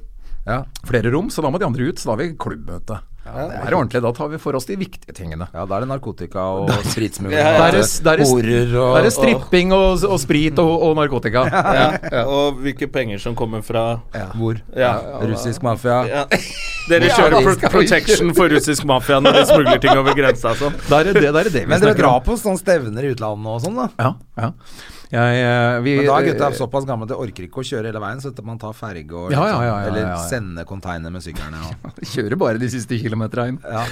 Ja. flere rom, så da må de andre ut. Så da har vi klubbmøte. det er ordentlig. Da tar vi for oss de viktige tingene. Ja, da er det narkotika og spritsmugling. Der er, der er, Horer og der er stripping og, og sprit og, og narkotika. Ja. Og hvilke penger som kommer fra og- Hvor? Ja. Russisk mafia. Ja. Dere kjører pro protection for russisk mafia når de smugler ting over grensa og sånn. Der er det, der er det vi Men dere snakker drar om. på sånne stevner i utlandet og sånn, da. Ja, ja. Jeg, eh, vi, Men da er gutta såpass gamle at de orker ikke å kjøre hele veien, så at man tar ferge og liksom- Ja, ja, ja, ja, ja, Eller ja, ja. sende container med syklene og kjører bare de siste kilometerne inn. ja.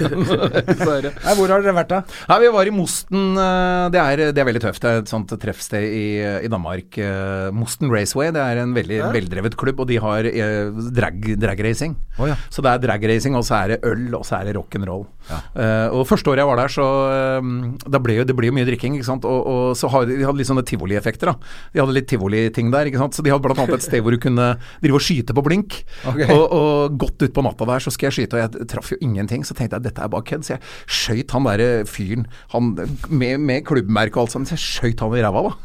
Så er det. Nei, hvor har dere vært, da? Nei, vi var i Mosten. eh, Det er, det er veldig tøft. Det er et sånt treffsted i, i Danmark. eh, Mosten Raceway. Det er en veldig veldrevet klubb, og de har eh, drag, dragracing. Å, ja. Så det er dragracing, og så er det øl, og så er det rock'n'roll. Eh, og første året jeg var der, så eh, da ble jo, Det ble jo mye drikking, ikke sant. Og, og så har, de de hadde litt sånne tivolieffekter, da. De hadde litt tivoliting der, ikke sant. Så de hadde blant annet et sted hvor du kunne drive og skyte på blink. Ok. Og, og godt utpå natta der så skal jeg skyte, og jeg traff jo ingenting. Så tenkte jeg dette er bare kødd, så jeg skøyt han derre fyren han, med, med klubbmerke og alt sammen. Så jeg skøyt han i ræva, da.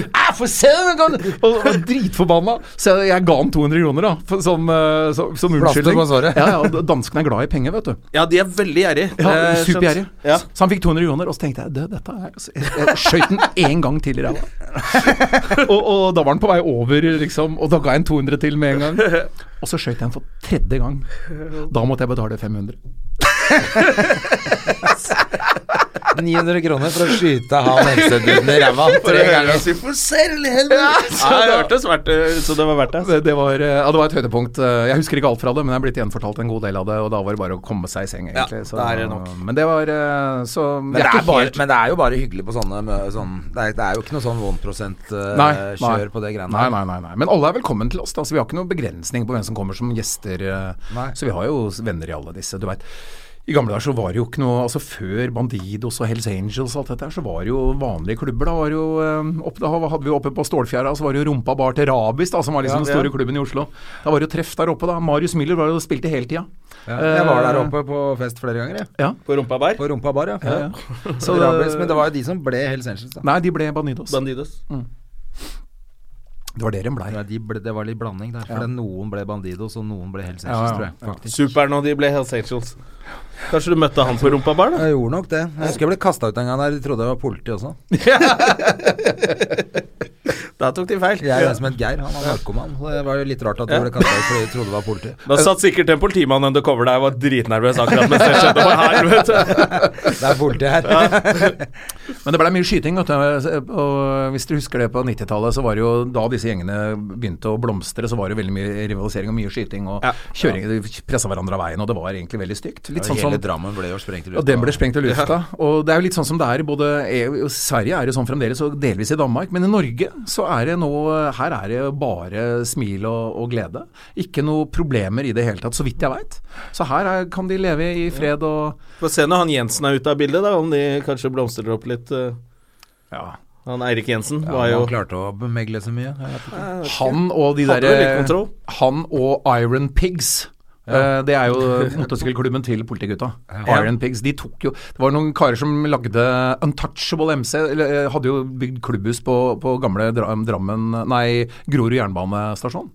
Æ, Ah, for se, den kan- og, og dritforbanna! Så jeg, jeg ga han 200 kroner, da, for, som, eh, som, som Plaster unnskyldning. på såret. Ja, ja, og danskene er glad i penger, vet du. Ja, de er veldig gjerrige. Ja, Eh, skjønt. Supergjerrig. Ja. Så han fikk 200 kroner, og så tenkte jeg "Dø, dette er altså, Jeg, jeg skøyt den én gang til i ræva. og, og da var han på vei over, liksom, og da ga jeg en 200 til med en gang. Og så skøyt jeg den for tredje gang. Da måtte jeg betale 500. 900 kroner for å skyte han helseduden i ræva For tre å høre ganger. oss i for selv, helvete! så det hørtes verdt det Så det var verdt det. Det, det, var, eh, ja, det var et høydepunkt. Eh, Jeg husker ikke alt fra det, men jeg er blitt gjenfortalt en god del av det, og da var det bare å komme seg i seng, Ja, egentlig. da er det nok. Men det var eh, Så Men det, jeg er ikke bare, helt- men det er jo bare hyggelig på sånne, mø- sånn det, er, det er jo ikke noe sånn Nei, nei. 1%-kjør på det greiene nei, nei, nei, nei. Men alle er velkommen til oss. Da. Så vi har ikke noen begrensning på hvem som kommer som gjester. eh, Nei. Så vi har jo venner i alle disse. Du veit. I gamle dager så var det jo ikke noe Altså Før Bandidos og Hells Angels og alt dette her, så var det jo vanlige klubber. Da, var det jo, eh, opp, da hadde vi jo oppe på Stålfjæra, så var det jo Rumpa Bar til Rabis, da, som var liksom Ja, den store ja. klubben i Oslo. Da var det jo treff der oppe, da. Marius Müller var jo og spilte hele tida. Ja, jeg var der oppe på fest flere ganger, jeg. Ja. På rumpa bær? På rumpa bar, ja. Eh. ja. Så Rabis, men det det var jo de som ble Hells Angels, da. Nei, de ble Bandidos. Bandidos. Mm. Det var der de blei. Ja, de ble, det var litt blanding der. For det- noen ble Bandidos, og noen ble Hells Ja, Angels, ja, tror jeg. ja. Faktisk. Super'n og de ble Hells Angels. Kanskje du møtte han på rumpa bær, da? Jeg gjorde nok det. Jeg husker jeg ble kasta ut en gang der. De trodde jeg var politi også. Da tok de feil. Jeg er jo som het Geir, han var narkoman. så Det var jo litt rart at de ble kasta ut fordi de trodde det var politi. Da satt sikkert en politimann undercover der og var dritnervøs akkurat mens det skjedde. Og helvete. Det er politi her. Men det blei mye skyting, vet du. Og hvis du husker det på 90-tallet, så var det jo da disse gjengene begynte å blomstre, så var det veldig mye rivalisering og mye skyting og Ja. kjøring. De pressa hverandre av veien, og det var egentlig veldig stygt. Litt sånn Hele som Drammen ble jo sprengt i og den ble sprengt i lufta. Og det er jo litt sånn som det er i både EU og Sverige er det sånn fremdeles, og delvis i Danmark. Men i Norge så er det nå Her er det bare smil og, og glede. Ikke noe problemer i det hele tatt, så vidt jeg veit. Så her er, kan de leve i fred og Få se når han Jensen er ute av bildet, da, om de kanskje blomstrer opp litt. eh. ja. Han Eirik Jensen Ja, var jo han klarte å bemegle så mye. Jeg vet ikke. Han og de Hadde derre- jo litt kontroll. Han og Iron Pigs. Eh, Det er jo motorsykkelklubben til politigutta. Iron Pigs. De tok jo Det var noen karer som lagde Untouchable MC. Eller eh, hadde jo bygd klubbhus på, på gamle Dra- Drammen Nei, Grorud jernbanestasjon.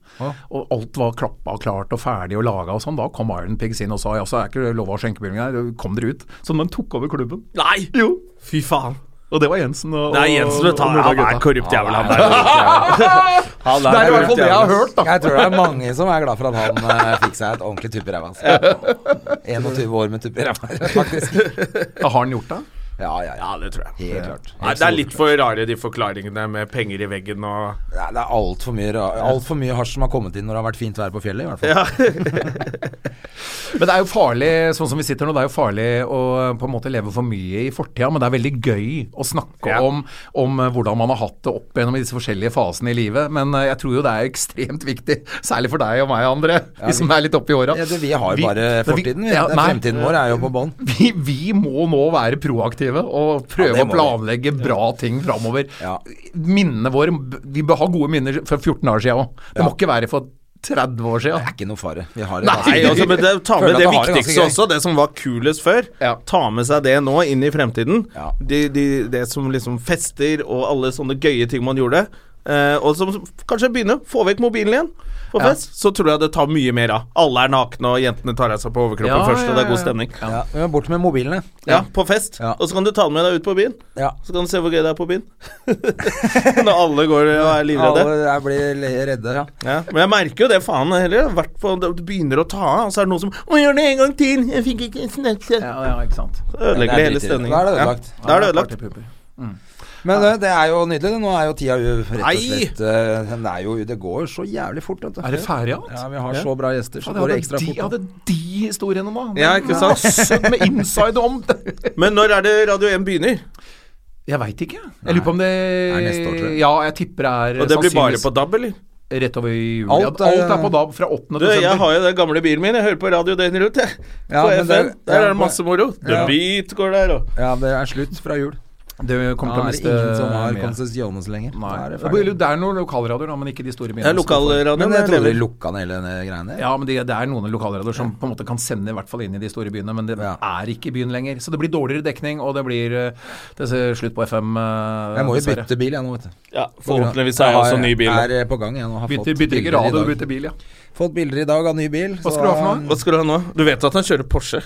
Og alt var klappa og klart og ferdig og laga og sånn. Da kom Iron Pigs inn og sa ja, så er ikke det lov å ha skjenkebevilling her. Kom dere ut. Så de tok over klubben. Nei! Jo. Fy faen. Og det var Jensen og Det er Jensen du tar. og Han Nordahl er gutta. korrupt jævel, han der. Han Det er i korrupt hvert fall det jeg har jævel, ass. hørt, da. Jeg tror det er mange som er glad for at han eh, fikk seg et ordentlig tupp i ræva. altså. 21 år med tupp i ræva, faktisk. Har han gjort det? Ja, ja, ja. Ja, det tror jeg. Helt klart. Nei, det er litt for rare de forklaringene med penger i veggen og Nei, det er altfor mye, ra- alt for mye hasj som har kommet inn når det har vært fint vær på fjellet, i hvert fall. Men det er jo farlig, sånn som vi sitter nå, det er jo farlig å på en måte leve for mye i fortida, men det er veldig gøy å snakke Ja. om, om hvordan man har hatt det opp gjennom disse forskjellige fasene i livet. Men eh, jeg tror jo det er ekstremt viktig, særlig for deg og meg, André, vi som er litt oppi åra. Ja, du, vi har jo bare fortiden. Vi, ja, det er nei. fremtiden vår er jo på bånn. Vi, vi må nå være proaktive og det prøve å må vi. planlegge bra ting framover. Ja. Minnene våre Vi bør ha gode minner fra 14 år siden òg. Det Ja. må ikke være for 30 år Det siden. er ikke noe fare. Vi har det Nei, ganske altså, gøy. men det, ta Føler med at det vi har ganske viktigste gøy. også, det som var kulest før. Ja. Ta med seg det nå inn i fremtiden. Ja. De, de, det som liksom fester og alle sånne gøye ting man gjorde. Eh, og som kanskje begynner. Få vekk mobilen igjen på Ja. fest. Så tror jeg det tar mye mer av. Alle er nakne, og jentene tar av seg på overkroppen Ja, først, og det ja, er god ja. stemning. Ja, Ja, men bort med mobilene. på fest. Ja. Og så kan du ta den med deg ut på byen. Ja. Så kan du se hvor gøy det er på byen. Når alle går og er livredde. Alle jeg blir le- redde, ja. Ja, men jeg merker jo det faen heller. jeg har vært på- Det begynner å ta av, og så er det noen som Å, gjør det en gang til! Jeg fikk ikke en snapchat. Ja, ja, ikke sant. Ødelegger det Det er hele dritirriterende. stemningen. Da er det ødelagt. Ja. Da er det ødelagt. Partypuper. Men eh, det er jo nydelig. det. Nå er jo tida jo rett og Nei! slett eh, den er jo, Det går jo så jævlig fort. vet du. Er det ferdig alt? Ja, vi har så bra gjester, så Ja, går det det ekstra hadde, de, fort. da. hadde de historiene nå. Ja, ikke sant? Masse med inside om det. Men når er det Radio 1 begynner? Jeg veit ikke. Jeg lurer på om det Er neste år, tror jeg. Ja, jeg tipper det er Og det blir bare sannsynligvis på DAB, eller? rett over jula. Alt Alt er- er, på DAB fra 8. Du, jeg har jo den gamle bilen min. Jeg hører på radio døgnet rundt, jeg. Ja, på FN. men det- der ja, er det på- masse moro. The ja. Beat går der, og Ja, det er slutt fra jul. Det Da kommer er til å det miste ingen som har mye. konsesjones lenger. Da Nei. er det Det blir- ferdig. Det er noen lokalradioer, da, men ikke de store byene. Ja, lokalradioen Men jeg der trodde de lever. lukka ned hele den greiene. Ja, men det, det er noen lokalradioer som på en måte kan sende i hvert fall inn i de store byene, men det Ja. er ikke i byen lenger. Så det blir dårligere dekning, og det blir eh, det ser slutt på FM. eh, Jeg må jo dessverre. bytte bil, jeg nå, vet du. Ja, forhåpentligvis er jeg også ny bil. Jeg er på gang, jeg nå. Har Bytter, fått bytter ikke bilder i radio, dag. bytter bil, ja. Fått bilder i dag av ny bil. Hva skal du ha for noe? Hva skal du ha nå? Du vet at han kjører Porsche?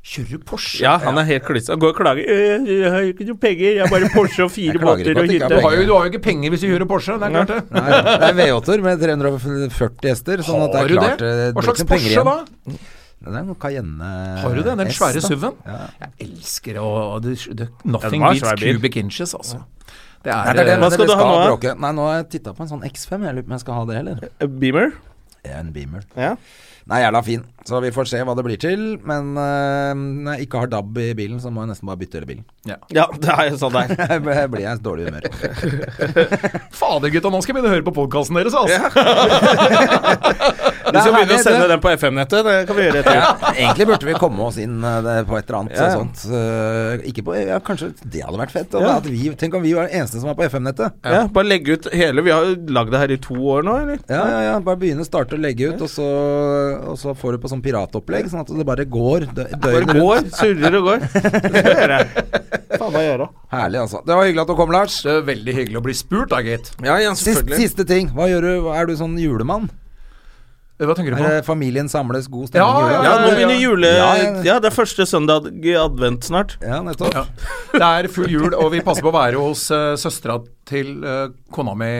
Kjører du Porsche? Ja, han er helt klissa. Han går og klager. «Øh, 'Jeg har jo ikke noe penger. Jeg har bare Porsche og Jeg fire klager ikke båter at og det ikke er hytte'. Du har, jo, du har jo ikke penger hvis du kjører Porsche, det er klart det. Nei, det er V8-er med 340 hester. Sånn at det Har er du klart det? eh, Hva blir ikke slags noen penger Porsche igjen. da? Det er en Cayenne Har du det? Den S, svære da. SUV-en? Ja. Jeg elsker å det, det, Nothing Ja, det var en beats svær bil. cubic inches, altså. Nei, Det er, eh, det er det, Hva det skal vi du ha nå, da? bråke. Nei, nå har jeg titta på en sånn X5. Jeg lurer på om jeg skal ha det, eller? «Øh, Beamer? En Beamer. Ja. Nei, jævla fin. Så vi får se hva det blir til. Men eh, når jeg ikke har DAB i bilen, så må jeg nesten bare bytte hele bilen. ja, det er jo sånn det er. Jeg ble- blir jeg i dårlig humør. Fader, gutta, nå skal jeg begynne å høre på podkasten deres, altså! Vi skal begynne Nei, å herlig, sende det- den på FM-nettet. Det kan vi gjøre etter. Egentlig burde vi komme oss inn eh, det på et eller annet Ja, ja. sånt. eh, ikke på, ja, kanskje det hadde vært fett. At vi, tenk om vi var de eneste som var på FM-nettet. Ja, bare legge ut hele Vi har jo lagd det her i to år nå, eller? Ja, ja, ja. Bare begynne, starte å legge ut, og så, og så får du på sånn piratopplegg, sånn at det bare går dø- Bare døgnet rundt. går, surrer og går. Det skal jeg gjøre. Faen meg gjøre. Herlig, altså. Det var hyggelig at du kom, Lars. Det er veldig hyggelig å bli spurt, da, gitt. Ja, ja, Sist, selvfølgelig. siste ting. Hva gjør du? Er du sånn julemann? Hva tenker du på? Er det familien samles, god stemning? Ja, i jula? Ja, nå begynner jule... Ja, Ja, ja, ja. det er første søndag i advent snart. Ja, nettopp. Ja. Det er full jul, og vi passer på å være hos uh, søstera til eh, kona mi,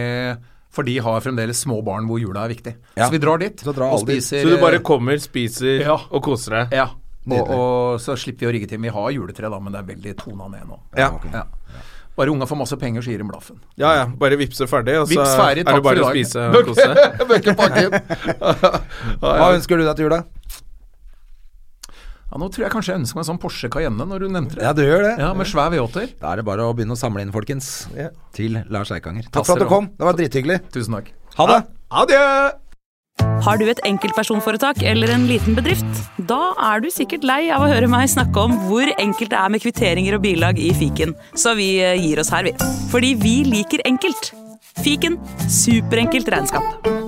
for de har fremdeles små barn hvor jula er viktig. Ja. Så vi drar dit Så drar og alle dit. spiser Så du bare eh, kommer, spiser Ja. og koser deg. Ja. Og, og så slipper vi å rigge til. Vi har juletre, da, men det er veldig tona ned nå. Ja, Ja. Bare unga får masse penger, så gir de blaffen. ja. ja bare vipse ferdig, og så Vips ferdig, er takk det bare å for i dag. spise og kose seg. Hva ønsker du deg til jula? Ja, nå tror jeg kanskje jeg ønsker meg en sånn Porsche Cayenne når du nevnte det. Ja, du gjør det. Ja, Med svær V8-er. Da er det bare å begynne å samle inn, folkens. Til Lars Eikanger. Takk Passer for at du bra. kom. Det var drithyggelig. Tusen takk. Ha det! Har du et enkeltpersonforetak eller en liten bedrift? Da er du sikkert lei av å høre meg snakke om hvor enkelt det er med kvitteringer og bilag i fiken, så vi eh, gir oss her, vi. Fordi vi liker enkelt. Fiken superenkelt regnskap.